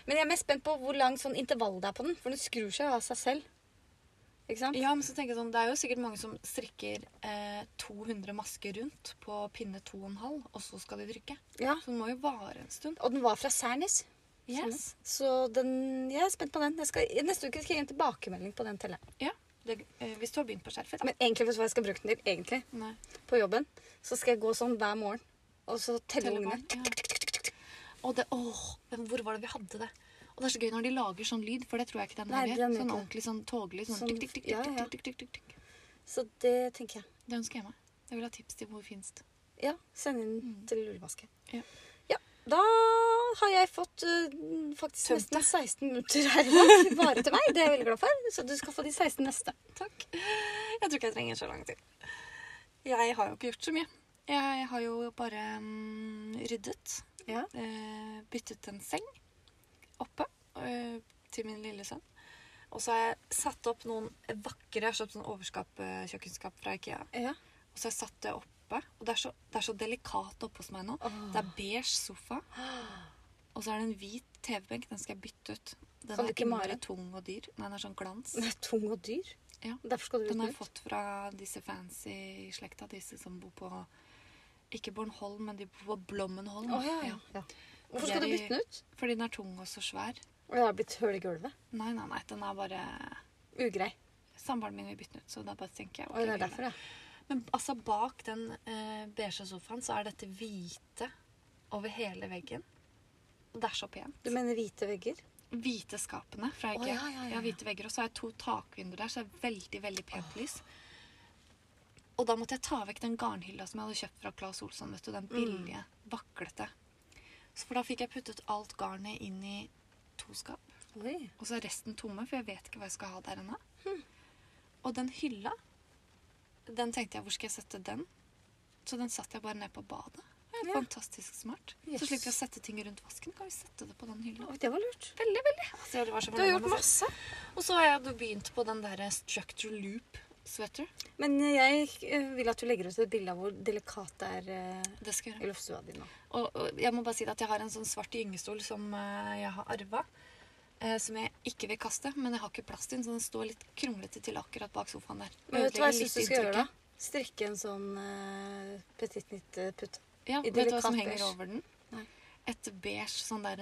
[SPEAKER 1] Men jeg er mest spent på hvor lang sånn intervall det er på den, for den skrur seg jo av seg selv. Ikke sant?
[SPEAKER 2] Ja, men så tenker jeg sånn, Det er jo sikkert mange som strikker eh, 200 masker rundt på pinne 2,5, og så skal de trykke.
[SPEAKER 1] Ja.
[SPEAKER 2] Så den må jo vare en stund.
[SPEAKER 1] Og den var fra Sernis,
[SPEAKER 2] Yes.
[SPEAKER 1] så den, jeg er spent på den. Jeg skal, neste uke skal jeg gi en tilbakemelding på den telleren.
[SPEAKER 2] Sånn. Ja. Det, eh, hvis du har begynt på skjerfet, da.
[SPEAKER 1] Men egentlig, vet du hva jeg skal bruke den til? Egentlig,
[SPEAKER 2] Nei.
[SPEAKER 1] på jobben, så skal jeg gå sånn hver morgen, og så telle
[SPEAKER 2] Telle
[SPEAKER 1] ungene.
[SPEAKER 2] barn, Og det, åh, men hvor var det vi hadde det? Og det er så gøy når de lager sånn lyd, for det tror jeg ikke den
[SPEAKER 1] Nei,
[SPEAKER 2] her gjør.
[SPEAKER 1] den gjør
[SPEAKER 2] Sånn
[SPEAKER 1] ikke
[SPEAKER 2] ordentlig sånn toglyd. Sånn,
[SPEAKER 1] Sånn-
[SPEAKER 2] tikk, tikk, tikk,
[SPEAKER 1] ja,
[SPEAKER 2] tikk,
[SPEAKER 1] ja.
[SPEAKER 2] tikk, tikk, tikk, tikk.
[SPEAKER 1] Så det tenker jeg.
[SPEAKER 2] Det ønsker jeg meg. Jeg vil ha tips til hvor fins det.
[SPEAKER 1] Ja, send inn til lullevaske.
[SPEAKER 2] Ja.
[SPEAKER 1] Ja, da har jeg fått eh, faktisk
[SPEAKER 2] Tømt
[SPEAKER 1] nesten 16 minutter her i dag. Bare til meg, det er jeg veldig glad for. Så du skal få de 16 neste.
[SPEAKER 2] Takk. Jeg tror ikke jeg trenger så lang tid. Jeg har jo ikke gjort så mye. Jeg har jo bare mm, ryddet.
[SPEAKER 1] Ja.
[SPEAKER 2] Eh, byttet en seng oppe eh, til min lille sønn. Og så har jeg satt opp noen vakre Jeg har kjøpt sånn overskap, eh, kjøkkenskap fra Ikea.
[SPEAKER 1] Ja.
[SPEAKER 2] Og så har jeg satt det oppe. Og det er så, det er så delikat oppe hos meg nå. Det er beige sofa, og så er det en hvit TV-benk. Den skal jeg bytte ut. Den
[SPEAKER 1] Kan du
[SPEAKER 2] er
[SPEAKER 1] ikke
[SPEAKER 2] innmari
[SPEAKER 1] male?
[SPEAKER 2] tung og dyr. Nei, den er sånn glans.
[SPEAKER 1] Den er tung og dyr.
[SPEAKER 2] Ja.
[SPEAKER 1] Derfor skal du
[SPEAKER 2] Den har jeg
[SPEAKER 1] ut.
[SPEAKER 2] fått fra disse fancy i slekta, disse som bor på Ikke Bornholm, men de bor på Blommenholm.
[SPEAKER 1] Å, ja, ja.
[SPEAKER 2] Ja.
[SPEAKER 1] ja. Hvorfor skal du bytte den ut?
[SPEAKER 2] Fordi den er tung og så svær.
[SPEAKER 1] Og det har blitt høl i gulvet.
[SPEAKER 2] Nei, nei, nei. Den er bare
[SPEAKER 1] Ugrei.
[SPEAKER 2] Samboeren min vil bytte den ut, så da bare tenker jeg
[SPEAKER 1] Og det
[SPEAKER 2] vi
[SPEAKER 1] er
[SPEAKER 2] gjør
[SPEAKER 1] derfor, ja.
[SPEAKER 2] Men altså, bak den eh, beige sofaen så er dette hvite over hele veggen. Og det er så pent.
[SPEAKER 1] Du mener hvite vegger?
[SPEAKER 2] hvite skapene fra
[SPEAKER 1] Å,
[SPEAKER 2] IKEA.
[SPEAKER 1] ja, ja, ja,
[SPEAKER 2] Jeg har hvite vegger, og så har jeg to takvinduer der, så det er veldig, veldig pent lys. Og da måtte jeg ta vekk den garnhylla som jeg hadde kjøpt fra Claes Olsson, vet du, den
[SPEAKER 1] Mm.
[SPEAKER 2] billige, vaklete. Så for da fikk jeg puttet alt garnet inn i to skap,
[SPEAKER 1] Oi.
[SPEAKER 2] og så er resten tomme, for jeg vet ikke hva jeg skal ha der ennå.
[SPEAKER 1] Hm.
[SPEAKER 2] Og den hylla, den tenkte jeg, hvor skal jeg sette den? Så den satt jeg bare ned på badet. Det
[SPEAKER 1] Ja.
[SPEAKER 2] er Fantastisk smart. Så
[SPEAKER 1] Yes.
[SPEAKER 2] slipper vi å sette ting rundt vasken, kan vi sette det på den hylla.
[SPEAKER 1] Oi, det var lurt.
[SPEAKER 2] Veldig, veldig. Altså, det var så
[SPEAKER 1] Du har
[SPEAKER 2] fornøyd
[SPEAKER 1] gjort
[SPEAKER 2] med meg selv.
[SPEAKER 1] masse.
[SPEAKER 2] Og så har jeg da begynt på den der structure loop sweater.
[SPEAKER 1] Men jeg eh, vil at du legger ut et bilde av hvor delikat det er eh,
[SPEAKER 2] Det skal jeg
[SPEAKER 1] i
[SPEAKER 2] gjøre.
[SPEAKER 1] loftstua di nå.
[SPEAKER 2] Og, og jeg må bare si at jeg har en sånn svart gyngestol som eh, jeg har arva. eh, Som jeg ikke vil kaste, men jeg har ikke plass til den, så den står litt kronglete til akkurat bak sofaen der.
[SPEAKER 1] Men vet du hva jeg
[SPEAKER 2] Ødelegger
[SPEAKER 1] syns du
[SPEAKER 2] litt
[SPEAKER 1] skal gjøre,
[SPEAKER 2] inntrykket.
[SPEAKER 1] da? Strikke en sånn uh, petit nytt-putte.
[SPEAKER 2] Ja,
[SPEAKER 1] I
[SPEAKER 2] vet du hva som
[SPEAKER 1] delikat
[SPEAKER 2] henger
[SPEAKER 1] beige.
[SPEAKER 2] over den?
[SPEAKER 1] Nei.
[SPEAKER 2] Et beige sånn der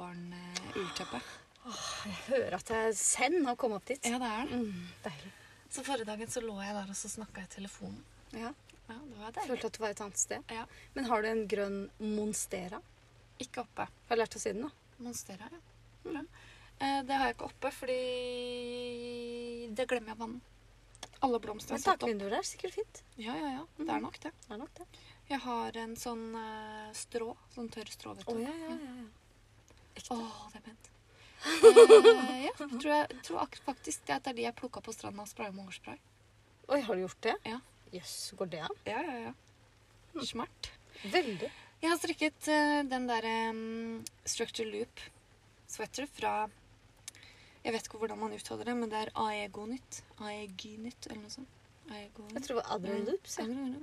[SPEAKER 2] eh, nøstebarn-ullteppe.
[SPEAKER 1] Hører at jeg send å komme opp dit.
[SPEAKER 2] Ja, det er det.
[SPEAKER 1] Mm, deilig.
[SPEAKER 2] Så forrige dagen så lå jeg der og så snakka i telefonen.
[SPEAKER 1] Ja,
[SPEAKER 2] Ja, det var
[SPEAKER 1] jeg
[SPEAKER 2] deilig.
[SPEAKER 1] Følte at du var et annet sted.
[SPEAKER 2] Ja.
[SPEAKER 1] Men har du en grønn monstera?
[SPEAKER 2] Ikke oppe.
[SPEAKER 1] Har jeg lært å si den, da?
[SPEAKER 2] Monstera, ja. Bra. Eh, Det har jeg ikke oppe, fordi det glemmer jeg å vanne. Alle
[SPEAKER 1] Men
[SPEAKER 2] blomstene er satt opp.
[SPEAKER 1] takvinduer er sikkert fint.
[SPEAKER 2] Ja, ja, ja. Det er nok det.
[SPEAKER 1] Det er nok det.
[SPEAKER 2] Jeg har en sånn eh, strå. Sånn tørr strå, vet du.
[SPEAKER 1] Å ja, ja, ja. ja.
[SPEAKER 2] Å, det er pent. Eh, ja, tror jeg tror ak faktisk det at det er de jeg plukka på stranda og spraya med hårspray.
[SPEAKER 1] Oi, har du gjort det?
[SPEAKER 2] Ja.
[SPEAKER 1] Jøss, går det an?
[SPEAKER 2] Ja, ja, ja. Smart.
[SPEAKER 1] Veldig.
[SPEAKER 2] Jeg har strikket eh, den der em, Structure Loop sweater fra Jeg vet ikke hvordan man uttaler det, men det er Aego-nytt. Aegi-nytt, E eller noe sånt. Aego
[SPEAKER 1] Jeg tror det var
[SPEAKER 2] Mm.
[SPEAKER 1] Adrian Loops. Ja.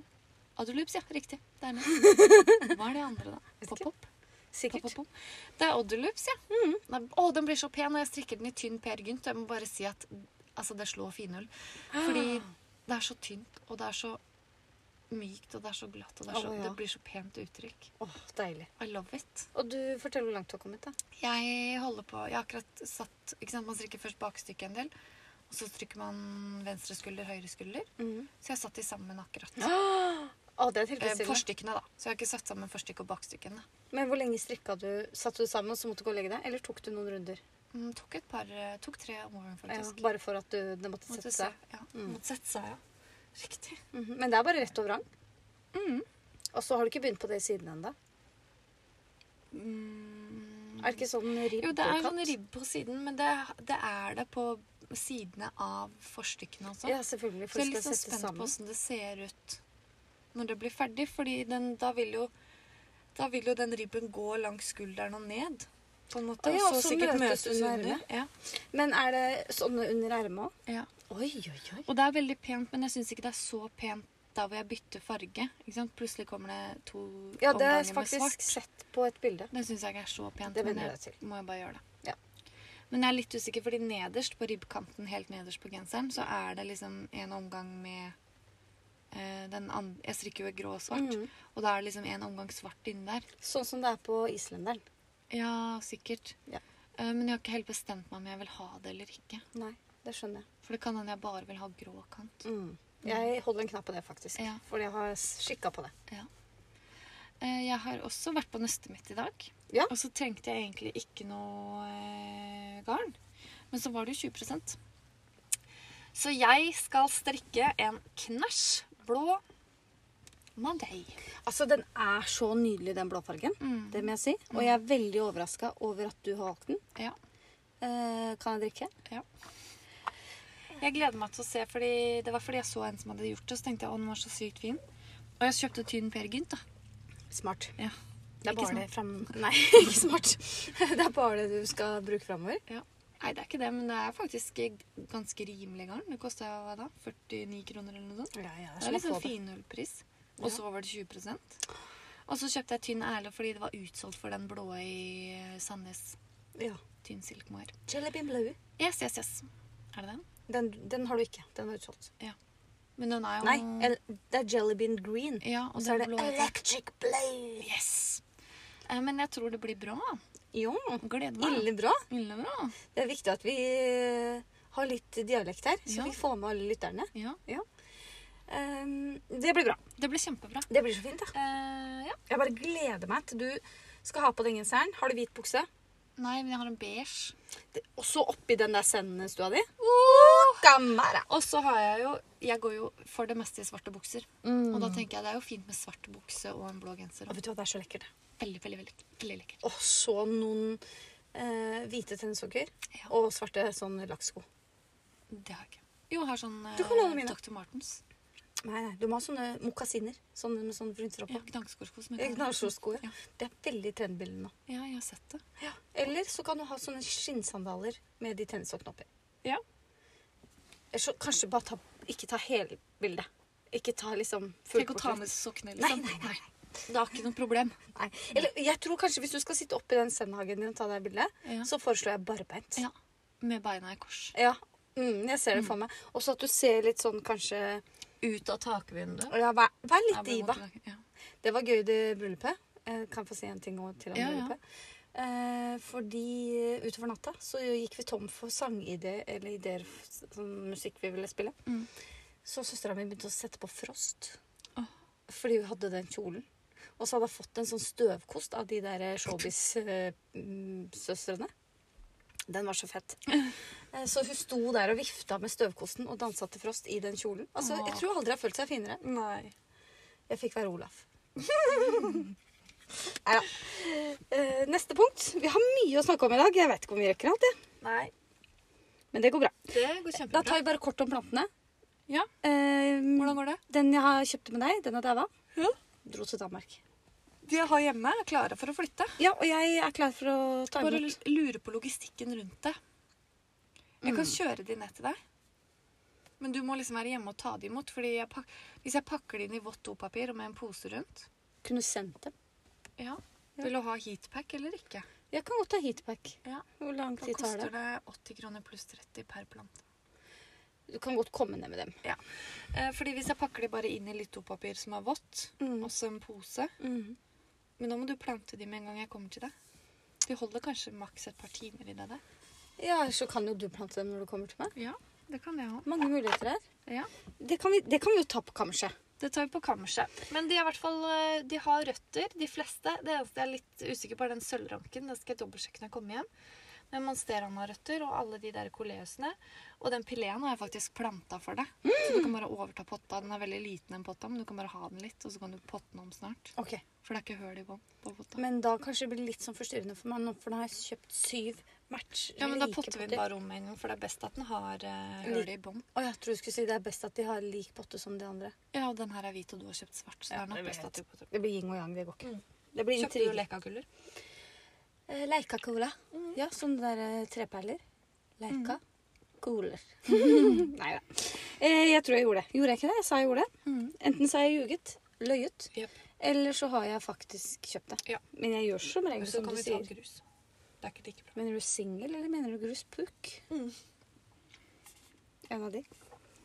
[SPEAKER 2] Adderloops, ja. Riktig. Det er det. Hva er det andre, da?
[SPEAKER 1] Vet ikke. Mm.
[SPEAKER 2] Pop-pop?
[SPEAKER 1] Sikkert.
[SPEAKER 2] Pop-pop-pop. Det er Odderloops, ja. Nei, Å, den blir så pen, og jeg strikker den i tynn Per Gynt. Jeg må bare si at altså, det slår finull. Fordi
[SPEAKER 1] Ah.
[SPEAKER 2] det er så tynt, og det er så mykt, og det er så glatt, og det, er så,
[SPEAKER 1] Å, ja.
[SPEAKER 2] det blir så pent uttrykk.
[SPEAKER 1] Åh, deilig.
[SPEAKER 2] I love it.
[SPEAKER 1] Og du, fortell hvor langt du har kommet, da.
[SPEAKER 2] Jeg holder på Jeg har akkurat satt ikke sant, Man strikker først bakstykket en del. Og så strikker man venstre skulder, høyre skulder. Så jeg har satt de sammen akkurat.
[SPEAKER 1] Å, det er
[SPEAKER 2] Mm. Eh,
[SPEAKER 1] tilfredsstillende.
[SPEAKER 2] forstykkene, da. Så jeg har ikke satt sammen forstykket og bakstykkene.
[SPEAKER 1] Men hvor lenge strikka du? Satte du det sammen, og så måtte du gå og legge deg? Eller tok du noen runder?
[SPEAKER 2] Mm, tok et par eh, Tok tre om morgenen,
[SPEAKER 1] Ja,
[SPEAKER 2] faktisk.
[SPEAKER 1] bare for at du, det måtte
[SPEAKER 2] måtte
[SPEAKER 1] sette
[SPEAKER 2] se.
[SPEAKER 1] seg?
[SPEAKER 2] Ja.
[SPEAKER 1] Mm.
[SPEAKER 2] Måtte sette seg, ja. Riktig.
[SPEAKER 1] Mhm. Men det er bare rett og vrang? Og så har du ikke begynt på det siden ennå?
[SPEAKER 2] Mm.
[SPEAKER 1] Er det ikke sånn ribb
[SPEAKER 2] Jo, det er
[SPEAKER 1] og
[SPEAKER 2] sånn
[SPEAKER 1] katt?
[SPEAKER 2] ribb på siden, men det, det er det på sidene av forstykkene også.
[SPEAKER 1] Ja, selvfølgelig.
[SPEAKER 2] Så
[SPEAKER 1] For
[SPEAKER 2] jeg er
[SPEAKER 1] det
[SPEAKER 2] litt
[SPEAKER 1] skal
[SPEAKER 2] sånn
[SPEAKER 1] settes
[SPEAKER 2] spent på
[SPEAKER 1] sammen.
[SPEAKER 2] hvordan det ser ut når det blir ferdig, fordi den, da vil jo da vil jo den ribben gå langs skulderen og ned. på en
[SPEAKER 1] Å
[SPEAKER 2] måte.
[SPEAKER 1] ja,
[SPEAKER 2] og
[SPEAKER 1] så
[SPEAKER 2] så sikkert
[SPEAKER 1] møtes
[SPEAKER 2] møtes
[SPEAKER 1] under
[SPEAKER 2] sånn under.
[SPEAKER 1] armene.
[SPEAKER 2] Ja.
[SPEAKER 1] Men er det sånne under ermet òg?
[SPEAKER 2] Ja.
[SPEAKER 1] Oi, oi, oi.
[SPEAKER 2] Og det er veldig pent, men jeg syns ikke det er så pent der hvor jeg bytter farge. Ikke sant? Plutselig kommer det to
[SPEAKER 1] Ja, det har
[SPEAKER 2] omganger
[SPEAKER 1] jeg
[SPEAKER 2] med
[SPEAKER 1] faktisk
[SPEAKER 2] svart.
[SPEAKER 1] sett på et bilde.
[SPEAKER 2] Det syns jeg ikke er så pent.
[SPEAKER 1] Det
[SPEAKER 2] men
[SPEAKER 1] vender
[SPEAKER 2] jeg
[SPEAKER 1] jeg
[SPEAKER 2] må jo bare gjøre det.
[SPEAKER 1] Ja.
[SPEAKER 2] Men jeg er litt usikker, fordi nederst på ribbkanten, helt nederst på genseren, så er det liksom en omgang med eh, den andre Jeg strikker jo i grå og svart,
[SPEAKER 1] Mhm.
[SPEAKER 2] og da er det liksom en omgang svart inni der.
[SPEAKER 1] Sånn som det er på islenderen.
[SPEAKER 2] Ja, sikkert.
[SPEAKER 1] Ja.
[SPEAKER 2] Eh, men jeg har ikke helt bestemt meg om jeg vil ha det eller ikke.
[SPEAKER 1] Nei, det skjønner jeg.
[SPEAKER 2] For det kan hende jeg bare vil ha grå kant.
[SPEAKER 1] Mm. Jeg holder en knapp på det, faktisk.
[SPEAKER 2] Ja.
[SPEAKER 1] Fordi jeg har skikka på det.
[SPEAKER 2] Eh, Jeg har også vært på nøstet mitt i dag.
[SPEAKER 1] Ja.
[SPEAKER 2] Og så trengte jeg egentlig ikke noe eh, garn. Men så var det jo 20 Så jeg skal strikke en knæsj blå Monday.
[SPEAKER 1] Altså, Den er så nydelig, den blåfargen.
[SPEAKER 2] Mm.
[SPEAKER 1] Det må jeg si. Og jeg er veldig overraska over at du har valgt den.
[SPEAKER 2] Ja.
[SPEAKER 1] Eh, kan jeg drikke?
[SPEAKER 2] ja. Jeg gleder meg til å se, fordi det var fordi jeg så en som hadde gjort det. Så tenkte jeg å, den var så sykt fin. Og jeg kjøpte tynn Per Gynt, da.
[SPEAKER 1] Smart.
[SPEAKER 2] Ja.
[SPEAKER 1] Det er
[SPEAKER 2] Ikke
[SPEAKER 1] bare
[SPEAKER 2] smart.
[SPEAKER 1] det fram... Nei, ikke smart. Det er bare det du skal bruke framover.
[SPEAKER 2] Ja. Nei, det er ikke det, men det er faktisk ganske rimelig garn. Det kosta hva da? 49 kroner eller noe sånt?
[SPEAKER 1] Ja, ja,
[SPEAKER 2] Det er litt sånn finullpris. Og
[SPEAKER 1] Ja.
[SPEAKER 2] så var det 20 Og så kjøpte jeg tynn erle fordi det var utsolgt for den blå i eh, Sandnes.
[SPEAKER 1] Ja.
[SPEAKER 2] Tynn silkemohair.
[SPEAKER 1] Jellybean blue.
[SPEAKER 2] Yes, yes, yes. Er det den?
[SPEAKER 1] Den, den har du ikke. Den er utsolgt.
[SPEAKER 2] Men den er jo
[SPEAKER 1] Nei, el- det er Jellybean green.
[SPEAKER 2] Ja, og
[SPEAKER 1] Og så er
[SPEAKER 2] den
[SPEAKER 1] det
[SPEAKER 2] blå
[SPEAKER 1] electric blue.
[SPEAKER 2] Yes! Eh, Men jeg tror det blir bra.
[SPEAKER 1] Jo,
[SPEAKER 2] Gleder meg.
[SPEAKER 1] ille bra.
[SPEAKER 2] Ille bra.
[SPEAKER 1] Det er viktig at vi eh, har litt dialekt her, så
[SPEAKER 2] Ja.
[SPEAKER 1] vi får med alle lytterne.
[SPEAKER 2] Ja.
[SPEAKER 1] Ehm, det blir bra.
[SPEAKER 2] Det blir kjempebra.
[SPEAKER 1] Det blir så fint, da.
[SPEAKER 2] Eh, ja.
[SPEAKER 1] Jeg bare gleder meg til du skal ha på den genseren. Har du hvit bukse?
[SPEAKER 2] Nei, men jeg har en beige.
[SPEAKER 1] Det- Og så oppi den der sendestua di. Gamara.
[SPEAKER 2] Og så har jeg jo Jeg går jo for det meste i svarte bukser. Og da tenker jeg det er jo fint med svart bukse og en blå genser.
[SPEAKER 1] Å, vet du hva, det er så lekkert. det.
[SPEAKER 2] Veldig, veldig, veldig, veldig lekkert.
[SPEAKER 1] Og så noen eh, hvite tennissokker
[SPEAKER 2] Ja.
[SPEAKER 1] og svarte sånn lakksko.
[SPEAKER 2] Det har jeg ikke. Jo, jeg har sånn
[SPEAKER 1] Du kan låne
[SPEAKER 2] eh,
[SPEAKER 1] mine.
[SPEAKER 2] Dr. Martens.
[SPEAKER 1] Nei, nei, du må ha sånne mokasiner. Sånne med sånn rundt
[SPEAKER 2] Ja,
[SPEAKER 1] kroppen.
[SPEAKER 2] Gnagsgårdsko som
[SPEAKER 1] Ja.
[SPEAKER 2] heter
[SPEAKER 1] Knallsko.
[SPEAKER 2] Ja.
[SPEAKER 1] Ja. Det er veldig trendbildet nå.
[SPEAKER 2] Ja, jeg har sett det.
[SPEAKER 1] Ja. Eller så kan du ha sånne skinnsandaler med de tennissokkene oppi.
[SPEAKER 2] Ja.
[SPEAKER 1] Eller så kanskje bare ta, ikke ta hele bildet. Ikke ta liksom full
[SPEAKER 2] Tenk å ta med sokkene,
[SPEAKER 1] Nei,
[SPEAKER 2] liksom.
[SPEAKER 1] nei, nei.
[SPEAKER 2] Det er ikke noe problem.
[SPEAKER 1] Nei. Eller jeg tror kanskje hvis du skal sitte oppi den sendhagen din og ta det bildet,
[SPEAKER 2] Ja.
[SPEAKER 1] så foreslår jeg barbeint.
[SPEAKER 2] Ja. Med beina i kors.
[SPEAKER 1] Ja. Mm, jeg ser det for meg. Og så at du ser litt sånn kanskje
[SPEAKER 2] Ut av takvinduet.
[SPEAKER 1] ja, vær, vær litt
[SPEAKER 2] Jeg blir
[SPEAKER 1] diva.
[SPEAKER 2] våt i dag. Ja.
[SPEAKER 1] Det var gøy, det bryllupet. Eh, Kan jeg få si en ting også til om
[SPEAKER 2] Ja, ja.
[SPEAKER 1] bryllupet? Eh, fordi eh, utover natta så gikk vi tom for sangideer, eller ideer, f- sånn musikk vi ville spille.
[SPEAKER 2] Mm.
[SPEAKER 1] Så søstera mi begynte å sette på Frost.
[SPEAKER 2] Åh.
[SPEAKER 1] Fordi hun hadde den kjolen. Og så hadde hun fått en sånn støvkost av de der showbiz-søstrene. Den var så fett. Eh, Så hun sto der og vifta med støvkosten og dansa til Frost i den kjolen. Altså, Jeg
[SPEAKER 2] Åh.
[SPEAKER 1] tror aldri jeg har følt seg finere.
[SPEAKER 2] Nei.
[SPEAKER 1] Jeg fikk være Olaf. Nei da. Eh, Neste punkt. Vi har mye å snakke om i dag. Jeg vet ikke om vi rekker alt, jeg.
[SPEAKER 2] Nei.
[SPEAKER 1] men det går bra.
[SPEAKER 2] Det går
[SPEAKER 1] Da
[SPEAKER 2] kjempebra.
[SPEAKER 1] tar vi bare kort om plantene.
[SPEAKER 2] Ja,
[SPEAKER 1] Eh,
[SPEAKER 2] Hvordan går det?
[SPEAKER 1] Den jeg har kjøpte med deg, den er daua.
[SPEAKER 2] Ja.
[SPEAKER 1] Dro til Danmark.
[SPEAKER 2] De jeg har hjemme, er klare for å flytte.
[SPEAKER 1] Ja, og jeg er klar for å ta
[SPEAKER 2] Bare
[SPEAKER 1] imot.
[SPEAKER 2] l- lurer på logistikken rundt det. Jeg kan kjøre de ned til deg. Men du må liksom være hjemme og ta de imot. Fordi jeg pak hvis jeg pakker de inn i vått dopapir og med en pose rundt
[SPEAKER 1] Kunne sendt dem.
[SPEAKER 2] ja. Vil du ha heatpack eller ikke?
[SPEAKER 1] Jeg kan godt ta heatpack.
[SPEAKER 2] Ja.
[SPEAKER 1] Hvor lang
[SPEAKER 2] Da
[SPEAKER 1] tid tar
[SPEAKER 2] koster
[SPEAKER 1] det?
[SPEAKER 2] det 80 kroner pluss 30 per plante.
[SPEAKER 1] Du kan godt komme ned med dem.
[SPEAKER 2] Ja. Eh, Fordi hvis jeg pakker de bare inn i litt dopapir som er vått,
[SPEAKER 1] Mm.
[SPEAKER 2] også en pose Men nå må du plante de med en gang jeg kommer til deg. De holder kanskje maks et par timer i det der.
[SPEAKER 1] Ja, så kan jo du plante dem når du kommer til meg.
[SPEAKER 2] Ja, det kan jeg òg.
[SPEAKER 1] Mange muligheter her.
[SPEAKER 2] Ja.
[SPEAKER 1] Det kan vi, det kan vi jo ta på kammerset.
[SPEAKER 2] Det tar vi på kammerset. Men de, er i hvert fall, eh, de har røtter, de fleste. Det eneste jeg er litt usikker på, er den sølvranken. Den skal jeg dobbeltsjekke når jeg kommer hjem. Men monsteran har røtter, og alle de der koleusene. Og den pileen har jeg faktisk planta for deg. Så du kan bare overta potta. Den er veldig liten, den potta, men du kan bare ha den litt, og så kan du potte den om snart.
[SPEAKER 1] Ok.
[SPEAKER 2] For det er ikke høl i bånn på potta.
[SPEAKER 1] Men da kanskje det blir litt sånn forstyrrende for meg nå, for da har jeg kjøpt syv match.
[SPEAKER 2] Ja, men da
[SPEAKER 1] like
[SPEAKER 2] potter vi den
[SPEAKER 1] potter.
[SPEAKER 2] bare om en gang, for det er best at den har eh,
[SPEAKER 1] Lik-
[SPEAKER 2] høl i bånn.
[SPEAKER 1] Å, jeg tror du skulle si det er best at de har lik potte som de andre.
[SPEAKER 2] Ja, og den her er hvit, og du har kjøpt svart, så
[SPEAKER 1] Ja,
[SPEAKER 2] det er nok
[SPEAKER 1] det
[SPEAKER 2] best
[SPEAKER 1] vet
[SPEAKER 2] at du potter.
[SPEAKER 1] Det blir yin og yang, det går ikke. Det blir
[SPEAKER 2] Kjøpte du
[SPEAKER 1] intriger.
[SPEAKER 2] lekakuller?
[SPEAKER 1] Mm. Eh, Leika cola. Ja, sånne der eh, treperler. Leika coler. Nei da. Eh, jeg tror jeg gjorde det. Gjorde jeg ikke det? Jeg sa jeg gjorde det. Enten så har jeg ljuget, løyet,
[SPEAKER 2] Jep.
[SPEAKER 1] eller så har jeg faktisk kjøpt det.
[SPEAKER 2] Ja.
[SPEAKER 1] Men jeg gjør som regel
[SPEAKER 2] Så
[SPEAKER 1] som
[SPEAKER 2] kan
[SPEAKER 1] du
[SPEAKER 2] vi ta
[SPEAKER 1] sier.
[SPEAKER 2] grus. Det er ikke like bra.
[SPEAKER 1] Mener du singel, eller mener du gruspukk?
[SPEAKER 2] Mm.
[SPEAKER 1] En av de.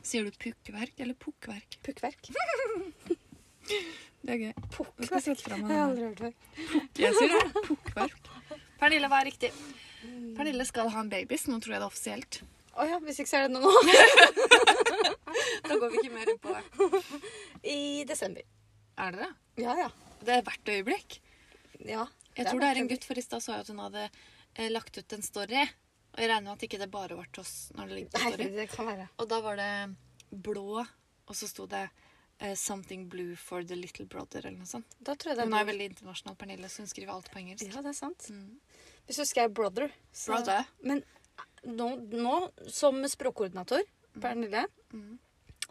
[SPEAKER 2] Sier du pukkverk eller pukkverk?
[SPEAKER 1] Pukkverk.
[SPEAKER 2] Det er gøy. Jeg skal sette frem
[SPEAKER 1] Jeg
[SPEAKER 2] av
[SPEAKER 1] har
[SPEAKER 2] den
[SPEAKER 1] aldri hørt før.
[SPEAKER 2] her. Jeg sier det. Pukkverk. Pernille, hva er riktig? Pernille skal ha en babys. Nå tror jeg det er offisielt.
[SPEAKER 1] Å ja, hvis ikke så er det nå.
[SPEAKER 2] Da går vi ikke mer inn på det.
[SPEAKER 1] I desember.
[SPEAKER 2] Er det det?
[SPEAKER 1] Ja, ja.
[SPEAKER 2] Det er hvert øyeblikk.
[SPEAKER 1] ja.
[SPEAKER 2] Jeg tror det er en gutt, for i stad så jeg at hun hadde eh, lagt ut en story. Og jeg regner med at ikke det bare var til oss når det ligger på
[SPEAKER 1] Nei,
[SPEAKER 2] story.
[SPEAKER 1] det kan være.
[SPEAKER 2] Og da var det blå, og så sto det eh, 'Something blue for the little brother', eller noe sånt.
[SPEAKER 1] Da tror jeg det
[SPEAKER 2] Hun er veldig internasjonal, Pernille, så hun skriver alt på engelsk.
[SPEAKER 1] Ja, det er sant.
[SPEAKER 2] Mm.
[SPEAKER 1] Hvis du skrev 'brother' så-
[SPEAKER 2] Brother.
[SPEAKER 1] Men eh, nå, nå som språkkoordinator, Pernille,
[SPEAKER 2] Mm.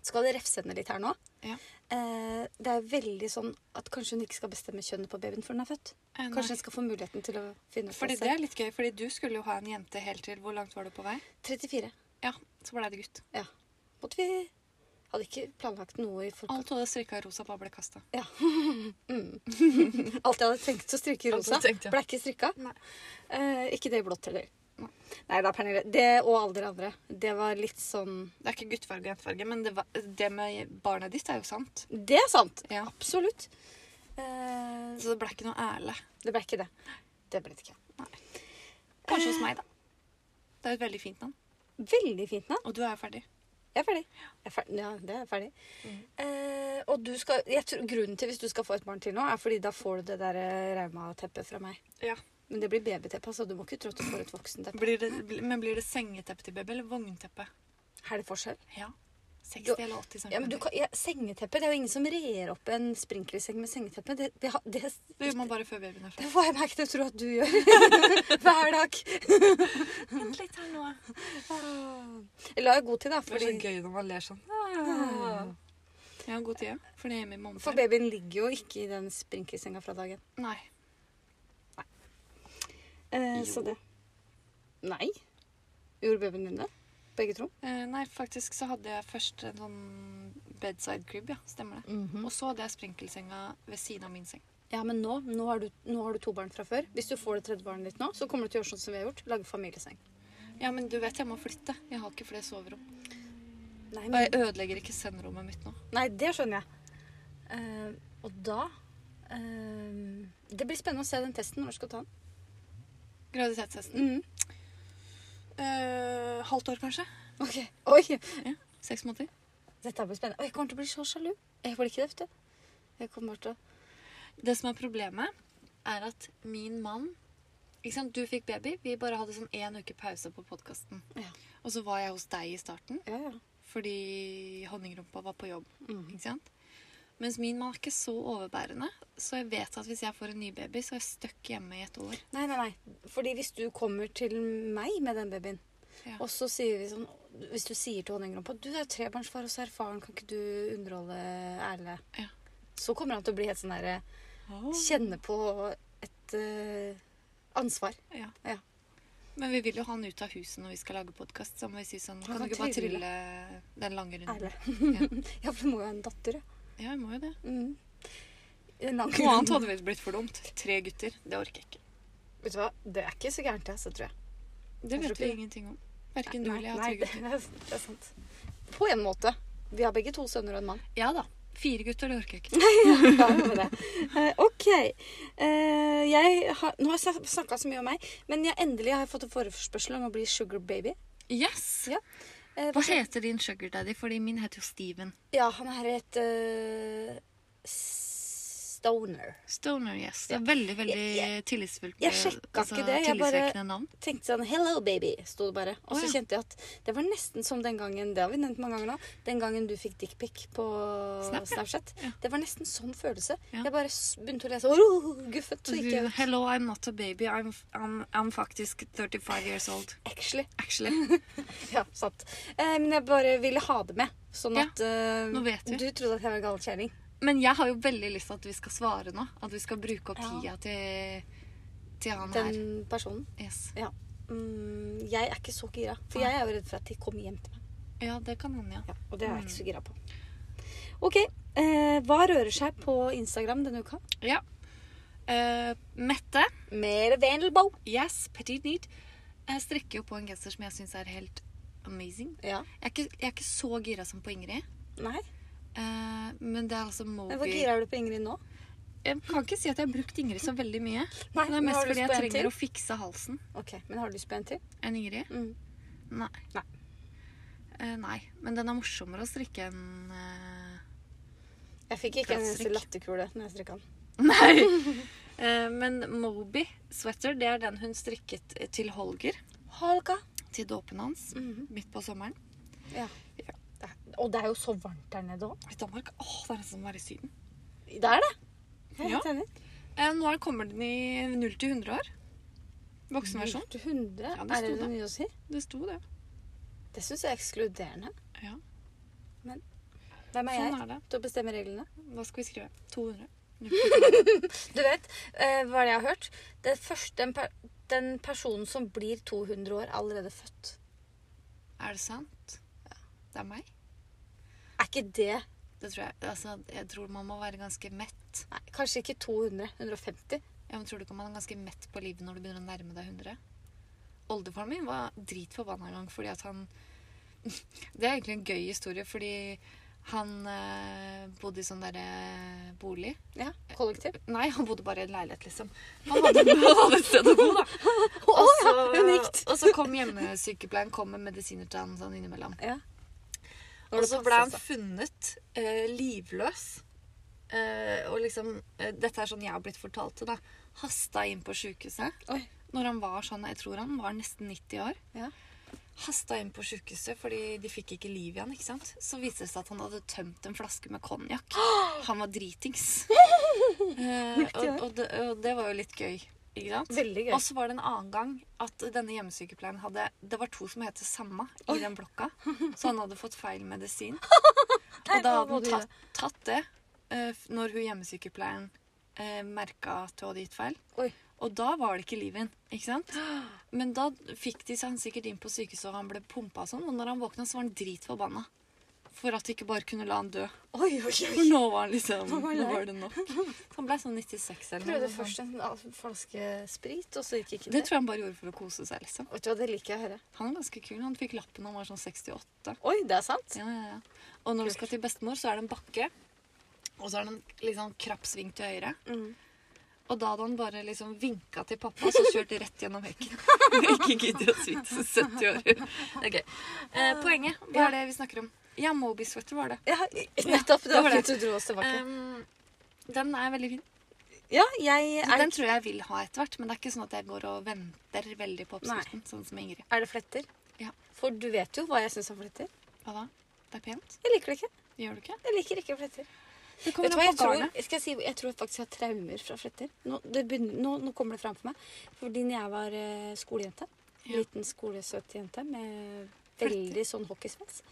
[SPEAKER 1] skal det refse henne litt her nå.
[SPEAKER 2] Ja.
[SPEAKER 1] Eh, det er veldig sånn at kanskje hun ikke skal bestemme kjønnet på babyen før den er født.
[SPEAKER 2] Eh, nei.
[SPEAKER 1] Kanskje hun skal få muligheten til å finne ut
[SPEAKER 2] Fordi det
[SPEAKER 1] selv.
[SPEAKER 2] er litt gøy, fordi du skulle jo ha en jente helt til. Hvor langt var du på vei?
[SPEAKER 1] 34.
[SPEAKER 2] Ja, så ble det gutt.
[SPEAKER 1] Ja. Måtte vi Hadde ikke planlagt noe i forkant.
[SPEAKER 2] Alt hodet strikka i rosa, bare ble kasta.
[SPEAKER 1] Alt jeg hadde tenkt å stryke i
[SPEAKER 2] Alt du
[SPEAKER 1] rosa,
[SPEAKER 2] tenkte, ja.
[SPEAKER 1] ble ikke strykka.
[SPEAKER 2] Nei.
[SPEAKER 1] Eh, ikke det i blått heller.
[SPEAKER 2] Nei.
[SPEAKER 1] Nei da, Pernille. Det og alle dere andre. Det var litt sånn
[SPEAKER 2] Det er ikke guttfarge og jentefarge, men det, var, det med barnet ditt er jo sant.
[SPEAKER 1] Det er sant.
[SPEAKER 2] Ja.
[SPEAKER 1] Absolutt. Eh,
[SPEAKER 2] Så det ble ikke noe ærlig.
[SPEAKER 1] Det ble ikke det. Det ble det ikke.
[SPEAKER 2] Kanskje hos meg, da. Det er jo et veldig fint navn.
[SPEAKER 1] Veldig fint navn.
[SPEAKER 2] Og du er jo ferdig.
[SPEAKER 1] Jeg er ferdig. Jeg er ferdig. Ja, det er jeg ferdig. Eh, og du skal, jeg tror, grunnen til hvis du skal få et barn til nå, er fordi da får du det der eh, raumateppet fra meg.
[SPEAKER 2] Ja.
[SPEAKER 1] Men det blir babyteppe, altså. Du må ikke tro at du får et voksenteppe.
[SPEAKER 2] Blir det, bli- men blir det sengeteppe til baby eller vognteppe?
[SPEAKER 1] Er det forskjell?
[SPEAKER 2] Ja. 60
[SPEAKER 1] Jo.
[SPEAKER 2] eller 80 cm.
[SPEAKER 1] Ja, men du kan, ja, sengeteppe, det er jo ingen som rer opp en sprinklerseng med sengeteppe. Det, det, har- det,
[SPEAKER 2] Det gjør man bare før babyen er ferdig.
[SPEAKER 1] det får jeg meg til å tro at du gjør. Hver dag.
[SPEAKER 2] Vent litt her nå.
[SPEAKER 1] Jeg la jo god tid, da.
[SPEAKER 2] Det blir
[SPEAKER 1] Fordi,
[SPEAKER 2] gøy når man ler sånn. Jeg har god tid, ja. For det er hjemme i
[SPEAKER 1] for
[SPEAKER 2] måneden.
[SPEAKER 1] babyen ligger jo ikke i den sprinklersenga fra dagen.
[SPEAKER 2] Nei.
[SPEAKER 1] Eh, så
[SPEAKER 2] Jo.
[SPEAKER 1] det. Nei. Gjorde babyen din det? Begge to?
[SPEAKER 2] Eh, nei, faktisk så hadde jeg først en sånn bedside crib, ja. Stemmer det. Og så hadde jeg sprinkelsenga ved siden av min seng.
[SPEAKER 1] Ja, men nå, nå, har du, nå har du to barn fra før. Hvis du får det tredje barnet ditt nå, så kommer du til å gjøre sånn som vi har gjort. Lage familieseng.
[SPEAKER 2] Ja, men du vet jeg må flytte. Jeg har ikke flere soverom.
[SPEAKER 1] Nei,
[SPEAKER 2] Og jeg ødelegger ikke senderommet mitt nå.
[SPEAKER 1] Nei, det skjønner jeg. Eh, og da eh, Det blir spennende å se den testen. Når skal du ta den?
[SPEAKER 2] Graviditetstesten.
[SPEAKER 1] Mhm.
[SPEAKER 2] Eh, halvt år, kanskje?
[SPEAKER 1] Ok. Oi!
[SPEAKER 2] Seks måneder?
[SPEAKER 1] Dette blir spennende. Og jeg kommer til å bli så sjalu. Jeg blir ikke det, vet du. Jeg kommer til å
[SPEAKER 2] Det som er problemet, er at min mann ikke sant? Du fikk baby. Vi bare hadde sånn én uke pause på podkasten.
[SPEAKER 1] Ja,
[SPEAKER 2] Og så var jeg hos deg i starten
[SPEAKER 1] ja. ja.
[SPEAKER 2] fordi honningrumpa var på jobb.
[SPEAKER 1] Mhm.
[SPEAKER 2] Ikke sant? Mens min mann er ikke så overbærende, så jeg vet at hvis jeg får en ny baby, så er jeg stuck hjemme i et år.
[SPEAKER 1] Nei, nei, nei. Fordi hvis du kommer til meg med den babyen,
[SPEAKER 2] Ja.
[SPEAKER 1] og så sier vi sånn Hvis du sier til honninggrompa Du er jo trebarnsfar og så erfaren, kan ikke du underholde Erle?
[SPEAKER 2] Ja.
[SPEAKER 1] Så kommer han til å bli helt sånn derre Kjenne på et eh, ansvar.
[SPEAKER 2] Ja.
[SPEAKER 1] Ja.
[SPEAKER 2] Men vi vil jo ha han ut av huset når vi skal lage podkast. Så må vi si sånn
[SPEAKER 1] Han
[SPEAKER 2] Kan
[SPEAKER 1] kan
[SPEAKER 2] du ikke bare
[SPEAKER 1] trylle.
[SPEAKER 2] trylle den lange runden?
[SPEAKER 1] Erle. Ja, for du må jo ha en datter, ja.
[SPEAKER 2] Ja, jeg må jo det.
[SPEAKER 1] Mm. En lang
[SPEAKER 2] Noe annet hadde vel blitt for dumt. Tre gutter. Det orker jeg ikke.
[SPEAKER 1] Vet du hva, det er ikke så gærent, det, så tror jeg.
[SPEAKER 2] Det
[SPEAKER 1] Jeg tror
[SPEAKER 2] vet vi
[SPEAKER 1] ikke-
[SPEAKER 2] ingenting om. Verken du eller jeg har
[SPEAKER 1] nei,
[SPEAKER 2] tre
[SPEAKER 1] det,
[SPEAKER 2] gutter.
[SPEAKER 1] det er sant. På en måte. Vi har begge to sønner og en mann.
[SPEAKER 2] Ja da. Fire gutter, det orker jeg ikke.
[SPEAKER 1] Ja, det var det. Eh, ok. Eh, jeg har, nå har jeg snakka så mye om meg, men jeg endelig har jeg fått en forespørsel om å bli sugar baby.
[SPEAKER 2] Yes!
[SPEAKER 1] Ja. Eh,
[SPEAKER 2] Hva
[SPEAKER 1] hva-
[SPEAKER 2] heter din sugar daddy? Fordi min heter jo Steven.
[SPEAKER 1] ja, han her het eh, Stoner.
[SPEAKER 2] Stoner, yes. Det er veldig, veldig tillitsfullt.
[SPEAKER 1] jeg
[SPEAKER 2] med- altså,
[SPEAKER 1] sjekka ikke det, jeg bare-
[SPEAKER 2] tillitsvekkende navn.
[SPEAKER 1] Tenkte sånn 'Hello, baby', sto det bare. Og
[SPEAKER 2] Å,
[SPEAKER 1] så
[SPEAKER 2] ja.
[SPEAKER 1] kjente jeg at det var nesten som den gangen Det har vi nevnt mange ganger nå. Den gangen du fikk dickpic på
[SPEAKER 2] Snap, ja.
[SPEAKER 1] Snapchat.
[SPEAKER 2] Ja.
[SPEAKER 1] Det var nesten sånn følelse.
[SPEAKER 2] Ja.
[SPEAKER 1] Jeg bare s- begynte å lese og oh, guffet. Så gikk jeg
[SPEAKER 2] Du,
[SPEAKER 1] ut.
[SPEAKER 2] Hello, I'm not a baby. I'm, I'm, I'm faktisk 35 years old.
[SPEAKER 1] Actually.
[SPEAKER 2] Actually.
[SPEAKER 1] Ja, sant. Eh, men jeg bare ville ha det med. Sånn
[SPEAKER 2] Ja,
[SPEAKER 1] at eh,
[SPEAKER 2] nå vet vi.
[SPEAKER 1] du trodde at jeg var en galekjerring.
[SPEAKER 2] Men jeg har jo veldig lyst til at vi skal svare nå. At vi skal bruke opp
[SPEAKER 1] Ja.
[SPEAKER 2] tida til til han her.
[SPEAKER 1] Den personen.
[SPEAKER 2] Yes.
[SPEAKER 1] Ja. Mm, jeg er ikke så gira. For
[SPEAKER 2] Nei.
[SPEAKER 1] jeg er jo redd for at de kommer hjem til meg.
[SPEAKER 2] Ja, det kan han, ja.
[SPEAKER 1] Og det er jeg
[SPEAKER 2] Mm.
[SPEAKER 1] ikke så gira på. OK. Eh, hva rører seg på Instagram denne uka?
[SPEAKER 2] ja. Eh, Mette,
[SPEAKER 1] Mer Vendelbow.
[SPEAKER 2] yes, petit need, eh, strekker jo på en genser som jeg syns er helt amazing.
[SPEAKER 1] Ja.
[SPEAKER 2] Jeg er, ikke, jeg er ikke så gira som på Ingrid,
[SPEAKER 1] Nei.
[SPEAKER 2] eh, men det er altså Moby
[SPEAKER 1] Men hvor gira er du på Ingrid nå?
[SPEAKER 2] Jeg kan ikke si at jeg har brukt Ingrid så veldig mye.
[SPEAKER 1] Nei,
[SPEAKER 2] Det er mest
[SPEAKER 1] har du
[SPEAKER 2] fordi
[SPEAKER 1] lyst
[SPEAKER 2] jeg
[SPEAKER 1] på en
[SPEAKER 2] trenger
[SPEAKER 1] til?
[SPEAKER 2] å fikse halsen
[SPEAKER 1] Ok, Men har du lyst på en til?
[SPEAKER 2] enn Ingrid.
[SPEAKER 1] Mm.
[SPEAKER 2] Nei.
[SPEAKER 1] Nei.
[SPEAKER 2] Eh, nei. Men den er morsommere å strikke enn eh,
[SPEAKER 1] Jeg fikk ikke en eneste
[SPEAKER 2] Plastrykk.
[SPEAKER 1] latterkule når jeg strikka den.
[SPEAKER 2] Nei! Eh, men Moby sweater, det er den hun strikket eh, til Holger.
[SPEAKER 1] Holga.
[SPEAKER 2] Til dåpen hans.
[SPEAKER 1] Mhm.
[SPEAKER 2] Midt på sommeren.
[SPEAKER 1] Ja. Og det er jo så varmt der nede òg.
[SPEAKER 2] I Danmark Åh, det er nesten som å være i Syden.
[SPEAKER 1] Det er det. Jeg er
[SPEAKER 2] Ja.
[SPEAKER 1] helt enig.
[SPEAKER 2] Eh, nå er- kommer den i 0 til 100 år. Voksenversjon.
[SPEAKER 1] 100?
[SPEAKER 2] Ja, det
[SPEAKER 1] er det
[SPEAKER 2] sto
[SPEAKER 1] det nye å si?
[SPEAKER 2] Det sto det.
[SPEAKER 1] Det syns jeg er ekskluderende.
[SPEAKER 2] Ja.
[SPEAKER 1] Hvem er jeg
[SPEAKER 2] Sånn er det.
[SPEAKER 1] til å bestemme reglene?
[SPEAKER 2] Hva skal vi skrive? 200?
[SPEAKER 1] Du vet, eh, hva er det jeg har hørt? Det første, den, per den personen som blir 200 år, er allerede født.
[SPEAKER 2] Er det sant? Det er meg.
[SPEAKER 1] Er ikke det
[SPEAKER 2] Det tror jeg, altså, jeg tror man må være ganske mett.
[SPEAKER 1] Nei, kanskje ikke 200. 150.
[SPEAKER 2] Ja, men tror du ikke man er ganske mett på livet når du begynner å nærme deg 100? Oldefaren min var dritforbanna en gang fordi at han Det er egentlig en gøy historie, fordi han eh, bodde i sånn derre bolig.
[SPEAKER 1] Ja, kollektiv.
[SPEAKER 2] Nei, han bodde bare i en leilighet, liksom. Han hadde, han hadde et sted å bo, da.
[SPEAKER 1] Å
[SPEAKER 2] Og
[SPEAKER 1] ja!
[SPEAKER 2] så-
[SPEAKER 1] Unikt.
[SPEAKER 2] Og så kom hjemmesykepleien kom med medisiner til han sånn innimellom.
[SPEAKER 1] Ja.
[SPEAKER 2] Og
[SPEAKER 1] Når
[SPEAKER 2] så
[SPEAKER 1] det
[SPEAKER 2] ble han
[SPEAKER 1] passer seg.
[SPEAKER 2] funnet eh, livløs. Eh, og liksom eh, Dette er sånn jeg har blitt fortalt det, da. Hasta inn på sjukehuset.
[SPEAKER 1] Oi.
[SPEAKER 2] Når han var sånn, jeg tror han var nesten 90 år.
[SPEAKER 1] Ja.
[SPEAKER 2] Hasta inn på sjukehuset fordi de fikk ikke liv i han, ikke sant? Så viste det seg at han hadde tømt en flaske med konjakk. Han var dritings. Eh, og, og, det, og det var jo litt gøy, ikke sant?
[SPEAKER 1] Veldig gøy.
[SPEAKER 2] Og så var det en annen gang at denne hjemmesykepleien hadde Det var to som het det samme i den blokka. Så han hadde fått feil medisin. Og da
[SPEAKER 1] hva
[SPEAKER 2] hadde
[SPEAKER 1] må
[SPEAKER 2] han
[SPEAKER 1] du
[SPEAKER 2] tatt, tatt det eh, f- når hun hjemmesykepleieren uh, merka at hun hadde gitt feil.
[SPEAKER 1] Oi.
[SPEAKER 2] Og da var det ikke liv i den, ikke sant? Men da fikk de seg han sikkert inn på sykehuset, og han ble pumpa og sånn. Og når han våkna, så var han dritforbanna. For at de ikke bare kunne la han dø.
[SPEAKER 1] Oi, oi,
[SPEAKER 2] For
[SPEAKER 1] oi.
[SPEAKER 2] nå var han liksom Nå
[SPEAKER 1] Nå var
[SPEAKER 2] var,
[SPEAKER 1] han lei.
[SPEAKER 2] det nok. Så han ble sånn 96 eller
[SPEAKER 1] Prøvde
[SPEAKER 2] noe. sånt.
[SPEAKER 1] først en al- flaske sprit, og så gikk ikke
[SPEAKER 2] Det
[SPEAKER 1] det.
[SPEAKER 2] tror jeg han bare gjorde for å kose seg, liksom.
[SPEAKER 1] Vet du hva, det liker jeg å høre.
[SPEAKER 2] Han er ganske kul. Han fikk lappen da han var sånn 68.
[SPEAKER 1] Oi, det er sant?
[SPEAKER 2] Ja, ja, ja. Og når du skal til bestemor, så er det en bakke. Og så er det en liksom, krapp sving til høyre.
[SPEAKER 1] Mm.
[SPEAKER 2] Og da hadde han bare liksom vinka til pappa, så kjørte rett gjennom hekken. Ikke gidder å svitse 70 år. Ok. Eh, poenget, hva er det vi snakker om? Ja, Moby Sweater var det.
[SPEAKER 1] Ja, nettopp. Det
[SPEAKER 2] det var
[SPEAKER 1] var
[SPEAKER 2] det.
[SPEAKER 1] fint du dro oss tilbake.
[SPEAKER 2] Um, den er veldig fin.
[SPEAKER 1] Ja, jeg er,
[SPEAKER 2] Den tror jeg jeg vil ha etter hvert, men det er ikke sånn at jeg går og venter veldig på oppskriften. Sånn som Ingrid.
[SPEAKER 1] er det fletter?
[SPEAKER 2] Ja.
[SPEAKER 1] For du vet jo hva jeg syns om fletter.
[SPEAKER 2] Hva da? Det er pent?
[SPEAKER 1] Jeg liker det ikke.
[SPEAKER 2] Gjør du ikke?
[SPEAKER 1] Jeg liker ikke fletter.
[SPEAKER 2] Det
[SPEAKER 1] Vet
[SPEAKER 2] kommer
[SPEAKER 1] du hva,
[SPEAKER 2] an
[SPEAKER 1] jeg
[SPEAKER 2] på
[SPEAKER 1] tror,
[SPEAKER 2] garnet.
[SPEAKER 1] skal jeg, si, jeg tror faktisk jeg har traumer fra fletter. Nå, det begynner, nå, nå kommer det fram for meg. Fordi når jeg var eh, skolejente,
[SPEAKER 2] Ja.
[SPEAKER 1] liten skolesøt jente med
[SPEAKER 2] Fletter.
[SPEAKER 1] veldig sånn hockeysveis,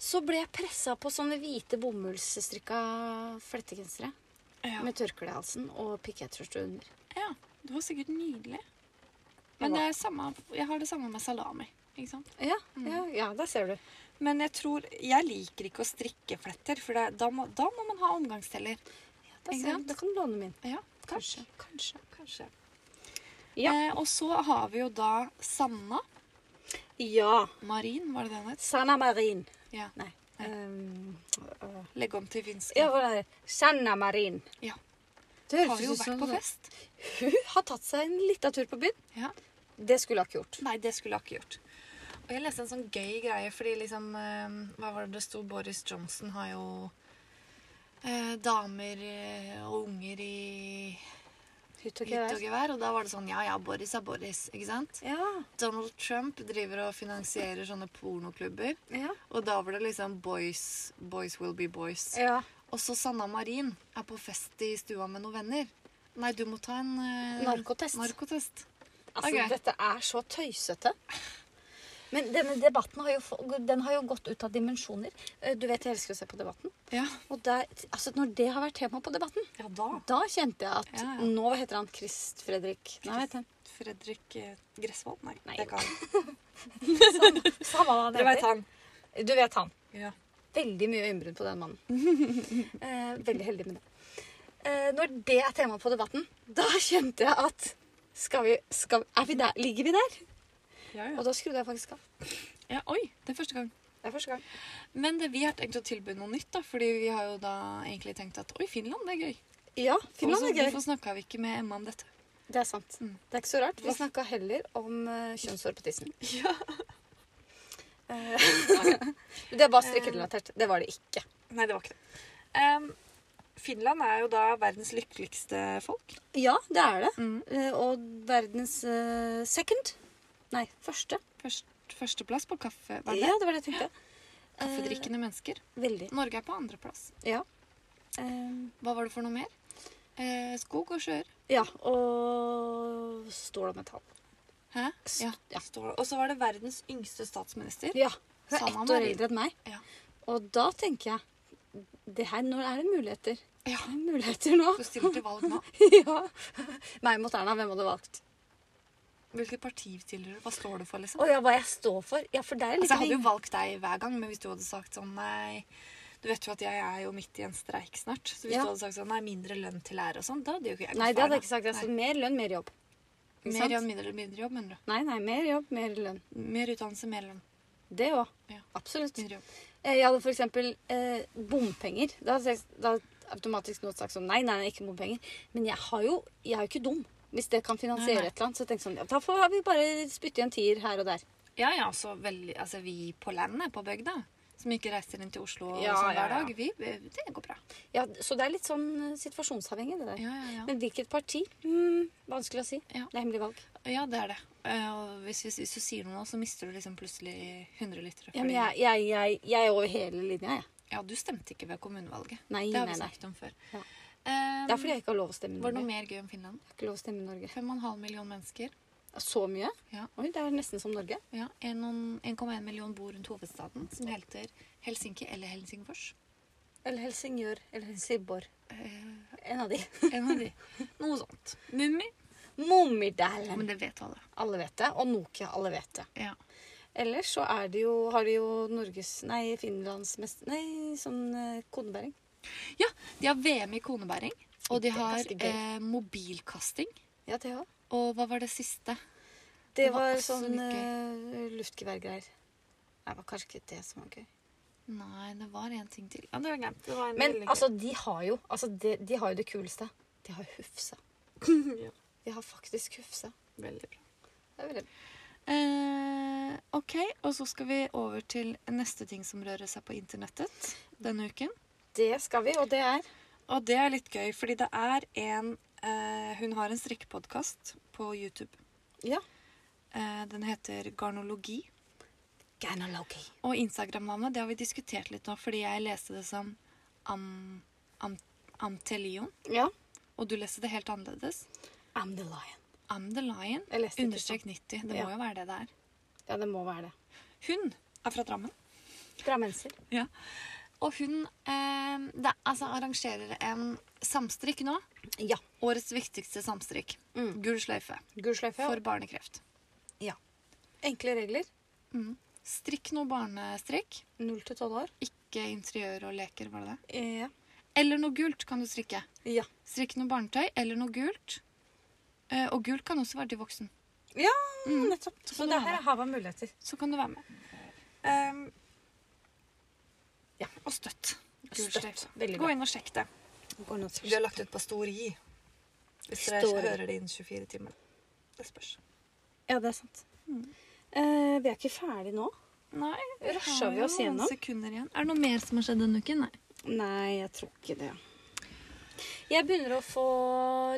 [SPEAKER 1] så ble jeg pressa på sånne hvite bomullsstrikka flettegensere
[SPEAKER 2] Ja.
[SPEAKER 1] med tørkle i halsen og pikétørste under.
[SPEAKER 2] Ja, det var sikkert nydelig. Men
[SPEAKER 1] Ja.
[SPEAKER 2] det er samme, jeg har det samme med salami. Ikke sant?
[SPEAKER 1] Ja, Mm. ja, ja, der ser du.
[SPEAKER 2] Men jeg tror, jeg liker ikke å strikke fletter, for det, da, må, da må man ha omgangsteller.
[SPEAKER 1] Ja, der
[SPEAKER 2] Ikke
[SPEAKER 1] ser
[SPEAKER 2] sant?
[SPEAKER 1] du. Da kan du låne min.
[SPEAKER 2] Ja,
[SPEAKER 1] Kanskje,
[SPEAKER 2] Kanskje. kanskje.
[SPEAKER 1] Ja.
[SPEAKER 2] Eh, og så har vi jo da Sanna
[SPEAKER 1] Ja.
[SPEAKER 2] Marin, var det det hun het?
[SPEAKER 1] Sanna Marin.
[SPEAKER 2] Ja.
[SPEAKER 1] Nei.
[SPEAKER 2] Nei.
[SPEAKER 1] Um, øh,
[SPEAKER 2] Legg om til finsk.
[SPEAKER 1] ja, hva er det? Sanna Marin.
[SPEAKER 2] Ja.
[SPEAKER 1] Det
[SPEAKER 2] Har jo
[SPEAKER 1] ut
[SPEAKER 2] vært
[SPEAKER 1] som-
[SPEAKER 2] på fest.
[SPEAKER 1] Hun har tatt seg en liten tur på byen.
[SPEAKER 2] Ja.
[SPEAKER 1] Det skulle hun ikke gjort.
[SPEAKER 2] Nei, det skulle jeg ikke gjort. Og jeg leste en sånn gøy greie, fordi liksom eh, Hva var det det sto? Boris Johnson har jo eh, damer eh, og unger i
[SPEAKER 1] Hytt og
[SPEAKER 2] hytt og
[SPEAKER 1] gevær.
[SPEAKER 2] gevær. Og da var det sånn Ja, ja, Boris er Boris. Ikke sant?
[SPEAKER 1] Ja,
[SPEAKER 2] Donald Trump driver og finansierer sånne pornoklubber.
[SPEAKER 1] ja.
[SPEAKER 2] Og da var det liksom Boys, boys will be boys.
[SPEAKER 1] ja.
[SPEAKER 2] Og så Sanna Marin er på fest i stua med noen venner. Nei, du må ta en eh,
[SPEAKER 1] Narkotest.
[SPEAKER 2] narkotest.
[SPEAKER 1] Altså,
[SPEAKER 2] Ok.
[SPEAKER 1] dette er så tøysete. Men denne debatten har jo, få- den har jo gått ut av dimensjoner. Eh, Du vet jeg elsker å se på debatten.
[SPEAKER 2] Ja,
[SPEAKER 1] Og der, altså når det har vært tema på debatten,
[SPEAKER 2] ja da.
[SPEAKER 1] da kjente jeg at
[SPEAKER 2] Ja, ja.
[SPEAKER 1] Nå hva heter han Krist Fredrik Nei, hva heter han?
[SPEAKER 2] Fredrik eh, Gressvold? Nei,
[SPEAKER 1] Nei.
[SPEAKER 2] det er ikke han.
[SPEAKER 1] Samme, samme hva han
[SPEAKER 2] Dere vet
[SPEAKER 1] heter.
[SPEAKER 2] han.
[SPEAKER 1] Du vet han.
[SPEAKER 2] Ja.
[SPEAKER 1] Veldig mye øyenbryn på den mannen. Eh, veldig heldig med det. Eh, når det er tema på debatten, da kjente jeg at skal vi, skal, er vi der? Ligger vi der?
[SPEAKER 2] Ja,
[SPEAKER 1] Og da skrudde jeg faktisk av.
[SPEAKER 2] ja. Oi, det er første gang.
[SPEAKER 1] Det er første gang.
[SPEAKER 2] Men det, vi har tenkt å tilby noe nytt, da, fordi vi har jo da egentlig tenkt at oi, Finland, det er gøy.
[SPEAKER 1] Ja, Finland
[SPEAKER 2] Også,
[SPEAKER 1] er gøy.
[SPEAKER 2] Hvorfor snakka vi ikke med Emma om dette?
[SPEAKER 1] Det er sant.
[SPEAKER 2] Mm.
[SPEAKER 1] Det er ikke så rart. Vi
[SPEAKER 2] Hva-
[SPEAKER 1] snakka heller om eh, kjønnshår på tissen.
[SPEAKER 2] Ja.
[SPEAKER 1] Eh, det er bare strikkerelatert. Det var det ikke.
[SPEAKER 2] Nei, det var ikke det. Em, Finland er jo da verdens lykkeligste folk.
[SPEAKER 1] Ja, det er det.
[SPEAKER 2] Mm,
[SPEAKER 1] Eh, og verdens eh, second Nei, første.
[SPEAKER 2] Først, førsteplass på kaffe, hva er det?
[SPEAKER 1] Ja, det var det jeg tenkte.
[SPEAKER 2] kaffedrikkende mennesker.
[SPEAKER 1] Eh, veldig.
[SPEAKER 2] Norge er på andreplass.
[SPEAKER 1] Ja. Eh,
[SPEAKER 2] Hva var det for noe mer? Eh, skog og sjøer.
[SPEAKER 1] ja, og stål og metall.
[SPEAKER 2] Hæ?
[SPEAKER 1] S-
[SPEAKER 2] Ja.
[SPEAKER 1] ja.
[SPEAKER 2] Står det. Og så var det verdens yngste statsminister.
[SPEAKER 1] Ja. Hun er
[SPEAKER 2] Sanna
[SPEAKER 1] ett år
[SPEAKER 2] Marin.
[SPEAKER 1] eldre enn meg.
[SPEAKER 2] Ja.
[SPEAKER 1] Og da tenker jeg det her, Nå er det muligheter.
[SPEAKER 2] Ja.
[SPEAKER 1] Det er muligheter nå.
[SPEAKER 2] Du stiller til valg nå.
[SPEAKER 1] ja. Meg mot Erna, hvem hadde valgt?
[SPEAKER 2] Hvilket parti stiller du? Hva står du for, liksom?
[SPEAKER 1] Å ja, hva jeg står for? Ja, for det er litt
[SPEAKER 2] Altså, jeg hadde jo valgt deg hver gang, men hvis du hadde sagt sånn nei Du vet jo at jeg er jo midt i en streik snart. Så hvis
[SPEAKER 1] Ja.
[SPEAKER 2] du hadde sagt sånn nei, mindre lønn til lærere og sånn, da hadde jo ikke jeg gått
[SPEAKER 1] Nei, det hadde jeg
[SPEAKER 2] for
[SPEAKER 1] ikke sagt. Jeg
[SPEAKER 2] Nei.
[SPEAKER 1] sa mer lønn, mer jobb. Ikke sant?
[SPEAKER 2] Mer jobb, mindre, mindre jobb, mener du.
[SPEAKER 1] Nei, nei, mer jobb, mer lønn.
[SPEAKER 2] Mer utdannelse, mer lønn.
[SPEAKER 1] Det òg.
[SPEAKER 2] Ja.
[SPEAKER 1] Absolutt.
[SPEAKER 2] Mindre jobb.
[SPEAKER 1] Eh, Jeg hadde for eksempel eh, bompenger. Da hadde jeg da hadde jeg automatisk noe sagt sånn nei, nei, nei, ikke bompenger. Men jeg har jo jeg er jo ikke dum. Hvis det kan finansiere
[SPEAKER 2] Nei, nei.
[SPEAKER 1] et eller annet, så tenk sånn ja, da får vi bare spytte i en tier her og der.
[SPEAKER 2] Ja, ja, så veldig Altså, vi på landet, på bygda, som ikke reiser inn til Oslo og
[SPEAKER 1] Ja,
[SPEAKER 2] sånn
[SPEAKER 1] ja,
[SPEAKER 2] hver
[SPEAKER 1] ja.
[SPEAKER 2] dag, vi, det går bra.
[SPEAKER 1] Ja, så det er litt sånn eh, situasjonsavhengig, det der.
[SPEAKER 2] Ja, ja, ja.
[SPEAKER 1] Men hvilket parti? Mm, vanskelig å si.
[SPEAKER 2] Ja.
[SPEAKER 1] Det er hemmelig valg.
[SPEAKER 2] Ja, det er det. Eh, Og hvis, hvis, hvis du sier noe nå, så mister du liksom plutselig 100 liter.
[SPEAKER 1] Ja, men jeg, jeg, jeg, jeg er over hele linja, jeg.
[SPEAKER 2] ja, du stemte ikke ved kommunevalget.
[SPEAKER 1] Nei,
[SPEAKER 2] det har
[SPEAKER 1] nei,
[SPEAKER 2] vi
[SPEAKER 1] nei.
[SPEAKER 2] snakket om før.
[SPEAKER 1] Ja.
[SPEAKER 2] Eh,
[SPEAKER 1] Det er fordi jeg ikke har lov å stemme i
[SPEAKER 2] Var det
[SPEAKER 1] Norge.
[SPEAKER 2] noe mer gøy om Finland?
[SPEAKER 1] Jeg har ikke lov å stemme i Norge.
[SPEAKER 2] 5,5 million mennesker.
[SPEAKER 1] Så mye?
[SPEAKER 2] Ja.
[SPEAKER 1] Oi, det er nesten som Norge.
[SPEAKER 2] Ja, en og- 1,1 million bor rundt hovedstaden, som heter Helsinki eller Helsingfors.
[SPEAKER 1] Eller Helsingør. Eller Helsingborg.
[SPEAKER 2] Eh,
[SPEAKER 1] En av de.
[SPEAKER 2] en av de. Noe sånt. Mummi.
[SPEAKER 1] Mummidalen.
[SPEAKER 2] Men det vet alle.
[SPEAKER 1] Alle vet det. Og Nokia. Alle vet det.
[SPEAKER 2] Ja.
[SPEAKER 1] Ellers så er det jo, har de jo Norges Nei, Finlands mest Nei, sånn eh, kodebæring.
[SPEAKER 2] ja, de har VM i konebæring. Og de
[SPEAKER 1] Det er
[SPEAKER 2] har
[SPEAKER 1] ganske gøy.
[SPEAKER 2] eh, mobilkasting.
[SPEAKER 1] Ja, det òg.
[SPEAKER 2] Og hva var det siste?
[SPEAKER 1] Det
[SPEAKER 2] Det var
[SPEAKER 1] var
[SPEAKER 2] også
[SPEAKER 1] sånn
[SPEAKER 2] litt
[SPEAKER 1] eh, luftgeværgreier. Nei, det var kanskje ikke det som var gøy.
[SPEAKER 2] Nei, det var en ting til. Ja, det var glemt. Det var en
[SPEAKER 1] Men
[SPEAKER 2] veldig gøy.
[SPEAKER 1] altså, de har jo altså, de, de har jo det kuleste. De har Hufsa.
[SPEAKER 2] ja,
[SPEAKER 1] De har faktisk Hufsa.
[SPEAKER 2] veldig bra.
[SPEAKER 1] Det er veldig
[SPEAKER 2] Eh, ok, og så skal vi over til neste ting som rører seg på internettet denne uken.
[SPEAKER 1] Det skal vi, og det er
[SPEAKER 2] Og det er litt gøy, fordi det er en eh, Hun har en strikkepodkast på YouTube.
[SPEAKER 1] Ja.
[SPEAKER 2] Eh, den heter Garnologi.
[SPEAKER 1] Gynology.
[SPEAKER 2] Og Instagram-navnet det har vi diskutert litt nå, fordi jeg leste det som am, am, Amtelion.
[SPEAKER 1] Ja.
[SPEAKER 2] Og du leste det helt annerledes.
[SPEAKER 1] I'm the lion.
[SPEAKER 2] Am the Lion.
[SPEAKER 1] Jeg leste ikke
[SPEAKER 2] Understrek 90. Det
[SPEAKER 1] Ja.
[SPEAKER 2] må jo være det det er.
[SPEAKER 1] Ja, det må være det.
[SPEAKER 2] Hun er fra Drammen.
[SPEAKER 1] Drammenser.
[SPEAKER 2] Ja. Og hun eh, det, altså, arrangerer en samstrikk nå.
[SPEAKER 1] Ja.
[SPEAKER 2] Årets viktigste samstrikk.
[SPEAKER 1] Mm.
[SPEAKER 2] Gul sløyfe
[SPEAKER 1] Gul sløyfe.
[SPEAKER 2] for barnekreft.
[SPEAKER 1] Ja. Enkle regler.
[SPEAKER 2] Mm. Strikk noe barnestrikk.
[SPEAKER 1] Null til tolv år.
[SPEAKER 2] Ikke interiør og leker, var det det?
[SPEAKER 1] Ja.
[SPEAKER 2] Eller noe gult kan du strikke.
[SPEAKER 1] Ja.
[SPEAKER 2] Strikk noe barnetøy eller noe gult. Eh, og gult kan også være til voksen.
[SPEAKER 1] ja nettopp. Mm.
[SPEAKER 2] Så
[SPEAKER 1] Så
[SPEAKER 2] kan
[SPEAKER 1] det
[SPEAKER 2] det
[SPEAKER 1] her
[SPEAKER 2] være.
[SPEAKER 1] er havet av muligheter.
[SPEAKER 2] Så kan du være med. Ehm, ja, og støtt. Gul
[SPEAKER 1] Støtt.
[SPEAKER 2] sløyfe.
[SPEAKER 1] Veldig bra.
[SPEAKER 2] Gå inn og sjekk det.
[SPEAKER 1] Går nå
[SPEAKER 2] Vi
[SPEAKER 1] til.
[SPEAKER 2] har lagt ut på Story. Hvis dere
[SPEAKER 1] Story.
[SPEAKER 2] hører det innen 24 timer. Det spørs.
[SPEAKER 1] Ja, det er sant. Eh, vi er ikke ferdig nå.
[SPEAKER 2] Nei,
[SPEAKER 1] vi Rusher har vi jo oss noen gjennom?
[SPEAKER 2] sekunder igjen. Er det noe mer som har skjedd denne uken? Nei.
[SPEAKER 1] Nei, jeg tror ikke det. Jeg begynner å få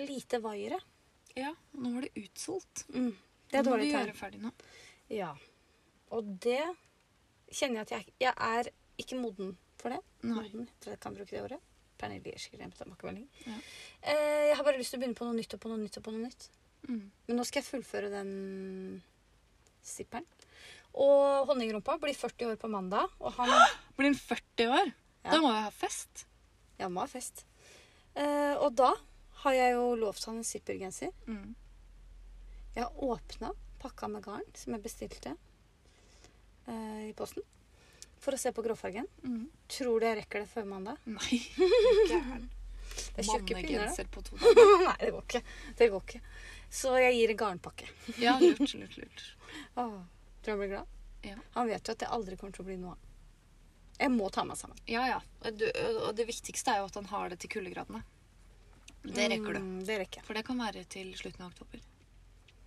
[SPEAKER 1] lite vaiere.
[SPEAKER 2] Ja, nå var det utsolgt.
[SPEAKER 1] Mm. Det er dårlig
[SPEAKER 2] tegn. Nå må
[SPEAKER 1] tegn.
[SPEAKER 2] vi gjøre ferdig nå.
[SPEAKER 1] Ja. Og det kjenner jeg at jeg, jeg er ikke moden for det.
[SPEAKER 2] Nei.
[SPEAKER 1] Moden, tror jeg kan bruke det ordet. Pernille gir sikkert en tilbakemelding.
[SPEAKER 2] Ja.
[SPEAKER 1] Eh, jeg har bare lyst til å begynne på noe nytt og på noe nytt og på noe nytt.
[SPEAKER 2] Mm.
[SPEAKER 1] Men nå skal jeg fullføre den zipperen. Og Honningrumpa blir 40 år på mandag, og han
[SPEAKER 2] Blir den 40 år?
[SPEAKER 1] Ja.
[SPEAKER 2] Da må jeg ha fest.
[SPEAKER 1] Ja, må ha fest. Eh, og da har jeg jo lovt han en zippergenser.
[SPEAKER 2] Mm.
[SPEAKER 1] Jeg har åpna pakka med garn som jeg bestilte eh, i posten, for å se på gråfargen.
[SPEAKER 2] Mm.
[SPEAKER 1] Tror du jeg rekker det før mandag?
[SPEAKER 2] Nei. Gæren.
[SPEAKER 1] Det er tjukke pinner, da.
[SPEAKER 2] Mannegenser på to dager.
[SPEAKER 1] Nei, det går ikke. Det går ikke. Så jeg gir en garnpakke.
[SPEAKER 2] Ja, lurt, lurt, lurt.
[SPEAKER 1] Åh, tror du han blir glad?
[SPEAKER 2] Ja.
[SPEAKER 1] Han vet jo at det aldri kommer til å bli noe av. Jeg må ta meg sammen.
[SPEAKER 2] Ja, ja. Og du- Og det viktigste er jo at han har det til kuldegradene. Det rekker du.
[SPEAKER 1] Mm, det rekker jeg.
[SPEAKER 2] For det kan være til slutten av oktober.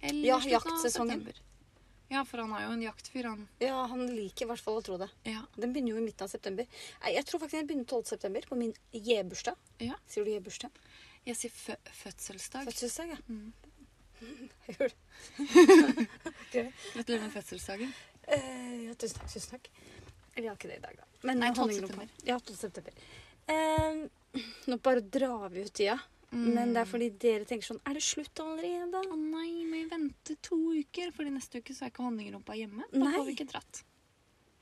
[SPEAKER 2] Eller
[SPEAKER 1] Ja,
[SPEAKER 2] slutten av
[SPEAKER 1] jaktsesongen.
[SPEAKER 2] september. Ja, for han er jo en jaktfyr, han.
[SPEAKER 1] Ja, han liker i hvert fall å tro det.
[SPEAKER 2] Ja.
[SPEAKER 1] Den begynner jo i midten av september. Nei, Jeg tror faktisk den begynner 12. september, på min J-bursdag.
[SPEAKER 2] Ja.
[SPEAKER 1] Sier du J-bursdag?
[SPEAKER 2] Jeg sier fø fødselsdag.
[SPEAKER 1] Fødselsdag, ja.
[SPEAKER 2] Mm.
[SPEAKER 1] Jeg gjorde det.
[SPEAKER 2] Gratulerer med fødselsdagen.
[SPEAKER 1] Eh, ja, tusen takk, tusen takk. Eller jeg har ikke det i dag, da. Men
[SPEAKER 2] Nei, 12.
[SPEAKER 1] honninggruppa-
[SPEAKER 2] september.
[SPEAKER 1] Ja, 12. september. Eh, nå bare drar vi ut tida, men
[SPEAKER 2] Mm.
[SPEAKER 1] det er fordi dere tenker sånn Er det slutt allerede?
[SPEAKER 2] Å nei, må jeg vente to uker? Fordi neste uke så er ikke honningrumpa hjemme. Da
[SPEAKER 1] Nei.
[SPEAKER 2] får vi ikke dratt.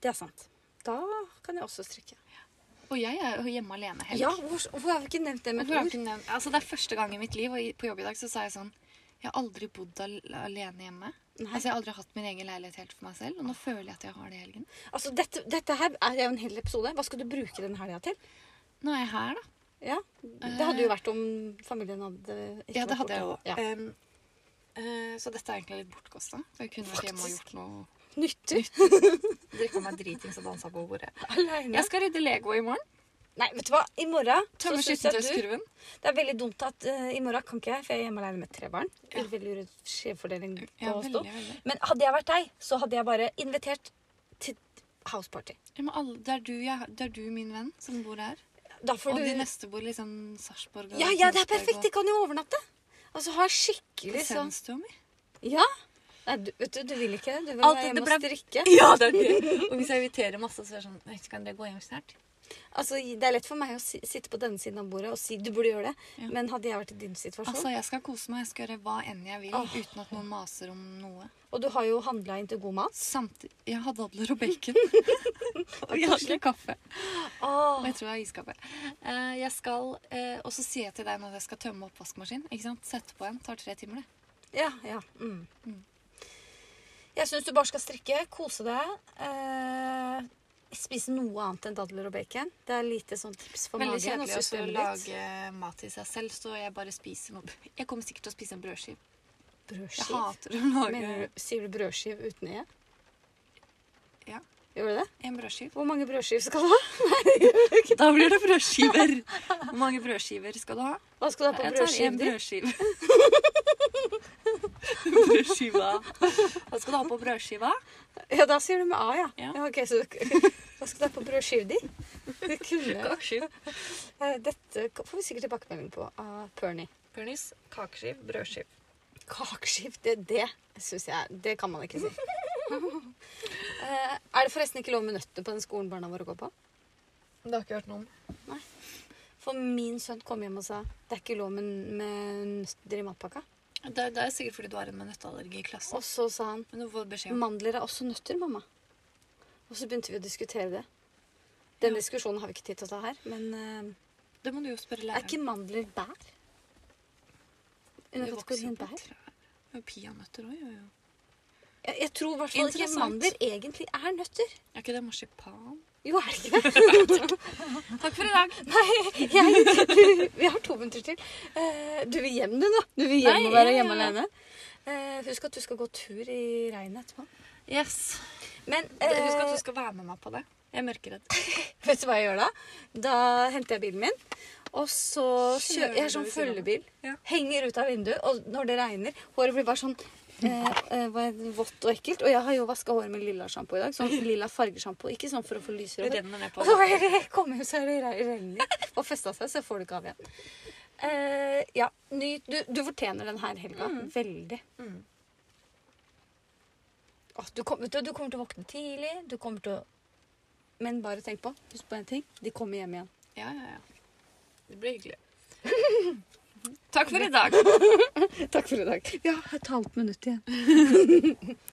[SPEAKER 1] Det er sant. Da kan jeg også strikke.
[SPEAKER 2] Og jeg er jo hjemme alene helg.
[SPEAKER 1] Ja, hvor, hvorfor har vi ikke nevnt det med
[SPEAKER 2] Hvorfor har
[SPEAKER 1] et
[SPEAKER 2] jeg
[SPEAKER 1] ord?
[SPEAKER 2] ikke nevnt- altså, det er første gang i mitt liv, og i- på jobb i dag så sa jeg sånn Jeg har aldri bodd al alene hjemme.
[SPEAKER 1] Nei.
[SPEAKER 2] Altså, jeg har aldri hatt min egen leilighet helt for meg selv, og nå føler jeg at jeg har det i helgen.
[SPEAKER 1] Altså, dette, dette her er jo en hel episode. Hva skal du bruke den helga til?
[SPEAKER 2] Nå er jeg her, da.
[SPEAKER 1] Ja, Det hadde jo vært om familien hadde ikke
[SPEAKER 2] Eh, Ja,
[SPEAKER 1] vært
[SPEAKER 2] det hadde jeg
[SPEAKER 1] borte.
[SPEAKER 2] jo.
[SPEAKER 1] Ja.
[SPEAKER 2] Em, eh, så dette er egentlig litt bortkasta. For jeg kunne vært hjemme og gjort noe.
[SPEAKER 1] Nyttig.
[SPEAKER 2] Drikka meg dritings og dansa på bordet.
[SPEAKER 1] Aleine.
[SPEAKER 2] Jeg skal rydde Lego i morgen.
[SPEAKER 1] Nei, vet du hva? I morgen så
[SPEAKER 2] Tømme
[SPEAKER 1] syns jeg du
[SPEAKER 2] skittentøyskurven.
[SPEAKER 1] Det er veldig dumt at eh, i morgen kan ikke jeg, for jeg er hjemme alene med tre barn. Ja. Veldig uredd skjevfordeling på
[SPEAKER 2] Ja,
[SPEAKER 1] oss
[SPEAKER 2] veldig,
[SPEAKER 1] to.
[SPEAKER 2] veldig.
[SPEAKER 1] Men hadde jeg vært deg, så hadde jeg bare invitert til houseparty.
[SPEAKER 2] Ja, men alle, det, er du, jeg, det er du, min venn, som bor her.
[SPEAKER 1] Da får
[SPEAKER 2] og
[SPEAKER 1] du
[SPEAKER 2] de neste bor liksom Sarpsborg og
[SPEAKER 1] Ja, ja, det er
[SPEAKER 2] Tønsberg
[SPEAKER 1] perfekt! De kan jo overnatte. Og så ha
[SPEAKER 2] og
[SPEAKER 1] skikkelig sånn
[SPEAKER 2] Senstua mi.
[SPEAKER 1] Ja. Nei, du, vet du, du vil ikke det. Du vil
[SPEAKER 2] Alt
[SPEAKER 1] være
[SPEAKER 2] dette
[SPEAKER 1] hjemme
[SPEAKER 2] ble-
[SPEAKER 1] og strikke.
[SPEAKER 2] Ja, det er det. Og hvis jeg inviterer masse, så er det sånn «Nei, Kan dere gå hjem snart?
[SPEAKER 1] Altså, det er lett for meg å si, sitte på denne siden av bordet og si du burde gjøre det,
[SPEAKER 2] Ja.
[SPEAKER 1] men hadde jeg vært i din situasjon
[SPEAKER 2] Altså, jeg skal kose meg. Jeg skal gjøre hva enn jeg vil,
[SPEAKER 1] Åh.
[SPEAKER 2] uten at noen maser om noe.
[SPEAKER 1] Og du har jo handla inn til god mat.
[SPEAKER 2] Samtidig Jeg hadde adler og bacon. og
[SPEAKER 1] koselig.
[SPEAKER 2] jeg hadde kaffe. Og
[SPEAKER 1] Åh,
[SPEAKER 2] jeg tror jeg har iskaffe. Eh, jeg skal eh, Og så sier jeg til deg når jeg skal tømme oppvaskmaskinen. Ikke sant? Sette på en. Tar tre timer, det.
[SPEAKER 1] Ja, ja. Mm. Jeg syns du bare skal strikke, kose deg. Eh, spise noe annet enn dadler og bacon. Det er lite sånn tips for magen
[SPEAKER 2] Veldig
[SPEAKER 1] og
[SPEAKER 2] kjedelig også å
[SPEAKER 1] systemet ditt.
[SPEAKER 2] lage eh, mat til seg selv, så jeg bare spiser noe. Jeg kommer sikkert til å spise en brødskive. Jeg
[SPEAKER 1] Brødskiv.
[SPEAKER 2] hater å lage
[SPEAKER 1] Mener du, sier du brødskiv uten e?
[SPEAKER 2] Ja,
[SPEAKER 1] Gjør du det?
[SPEAKER 2] en brødskive.
[SPEAKER 1] Hvor mange brødskiv skal du ha?
[SPEAKER 2] Da blir det brødskiver. Hvor mange brødskiver skal du ha?
[SPEAKER 1] Hva skal du ha på
[SPEAKER 2] Jeg tar en
[SPEAKER 1] brødskiven din?
[SPEAKER 2] brødskive. brødskiva. Hva skal du ha på brødskiva?
[SPEAKER 1] Ja, da sier du med a, ja. ja.
[SPEAKER 2] Ja.
[SPEAKER 1] ok, så du, Hva skal du ha på brødskiven din? Det kunne,
[SPEAKER 2] Kakeskiv.
[SPEAKER 1] eh, dette får vi sikkert tilbakemelding på av Pernie.
[SPEAKER 2] Pernis, kakeskiv, brødskiv.
[SPEAKER 1] Kakeskift, det, det syns jeg Det kan man ikke si. Eh, er det forresten ikke lov med nøtter på den skolen barna våre går på?
[SPEAKER 2] Det har ikke hørt noen.
[SPEAKER 1] For min sønn kom hjem og sa det er ikke lov med, med nøtter i matpakka.
[SPEAKER 2] Det, det er sikkert fordi du har en med nøtteallergi i klassen.
[SPEAKER 1] Og så sa han
[SPEAKER 2] Men du får beskjed om
[SPEAKER 1] mandler er også nøtter, mamma. Og så begynte vi å diskutere det. Den
[SPEAKER 2] Ja.
[SPEAKER 1] diskusjonen har vi ikke tid til å ta her, men eh,
[SPEAKER 2] Det må du jo spørre
[SPEAKER 1] er
[SPEAKER 2] læreren.
[SPEAKER 1] ikke mandler bær?
[SPEAKER 2] Det
[SPEAKER 1] Under
[SPEAKER 2] vokser
[SPEAKER 1] kategorien
[SPEAKER 2] på
[SPEAKER 1] bær?
[SPEAKER 2] trær. Det er jo Peanøtter òg, jo jo.
[SPEAKER 1] Jeg, jeg tror i hvert fall ikke
[SPEAKER 2] Interessant.
[SPEAKER 1] mandler egentlig er nøtter.
[SPEAKER 2] Er ikke det marsipan?
[SPEAKER 1] Jo, er det ikke det?
[SPEAKER 2] Takk for i dag.
[SPEAKER 1] Nei, jeg, du, vi har to minutter til. Eh, du vil hjem, du, nå. Du vil hjem
[SPEAKER 2] Nei,
[SPEAKER 1] og være
[SPEAKER 2] ja,
[SPEAKER 1] hjemme
[SPEAKER 2] ja, ja.
[SPEAKER 1] alene. Eh, husk at du skal gå tur i regnet etterpå.
[SPEAKER 2] Yes.
[SPEAKER 1] Men eh,
[SPEAKER 2] Husk at du skal være med meg på det. Jeg er mørkeredd.
[SPEAKER 1] vet du hva jeg gjør da? Da henter jeg bilen min, og så kjører jeg er sånn følgebil.
[SPEAKER 2] Ja.
[SPEAKER 1] Henger ut av vinduet, og når det regner Håret blir bare sånn eh, eh, hva er det, vått og ekkelt. Og jeg har jo vaska håret med lilla sjampo i dag. Sånn lilla fargesjampo. Ikke sånn for å få lysere
[SPEAKER 2] Det
[SPEAKER 1] hår.
[SPEAKER 2] renner ned på
[SPEAKER 1] Og så bare jeg kommer hjem, så er det re- regner. Og festa seg, så får du ikke av igjen. Eh, ja, ny, du, du fortjener den her helga. Veldig.
[SPEAKER 2] Mm.
[SPEAKER 1] Åh, du, kom, vet du, du kommer til å våkne tidlig. Du kommer til å Men bare tenk på, husk på en ting. De kommer hjem igjen.
[SPEAKER 2] Ja, ja, ja. Det blir hyggelig. Takk for i dag.
[SPEAKER 1] Takk for i dag. Vi har et halvt minutt igjen.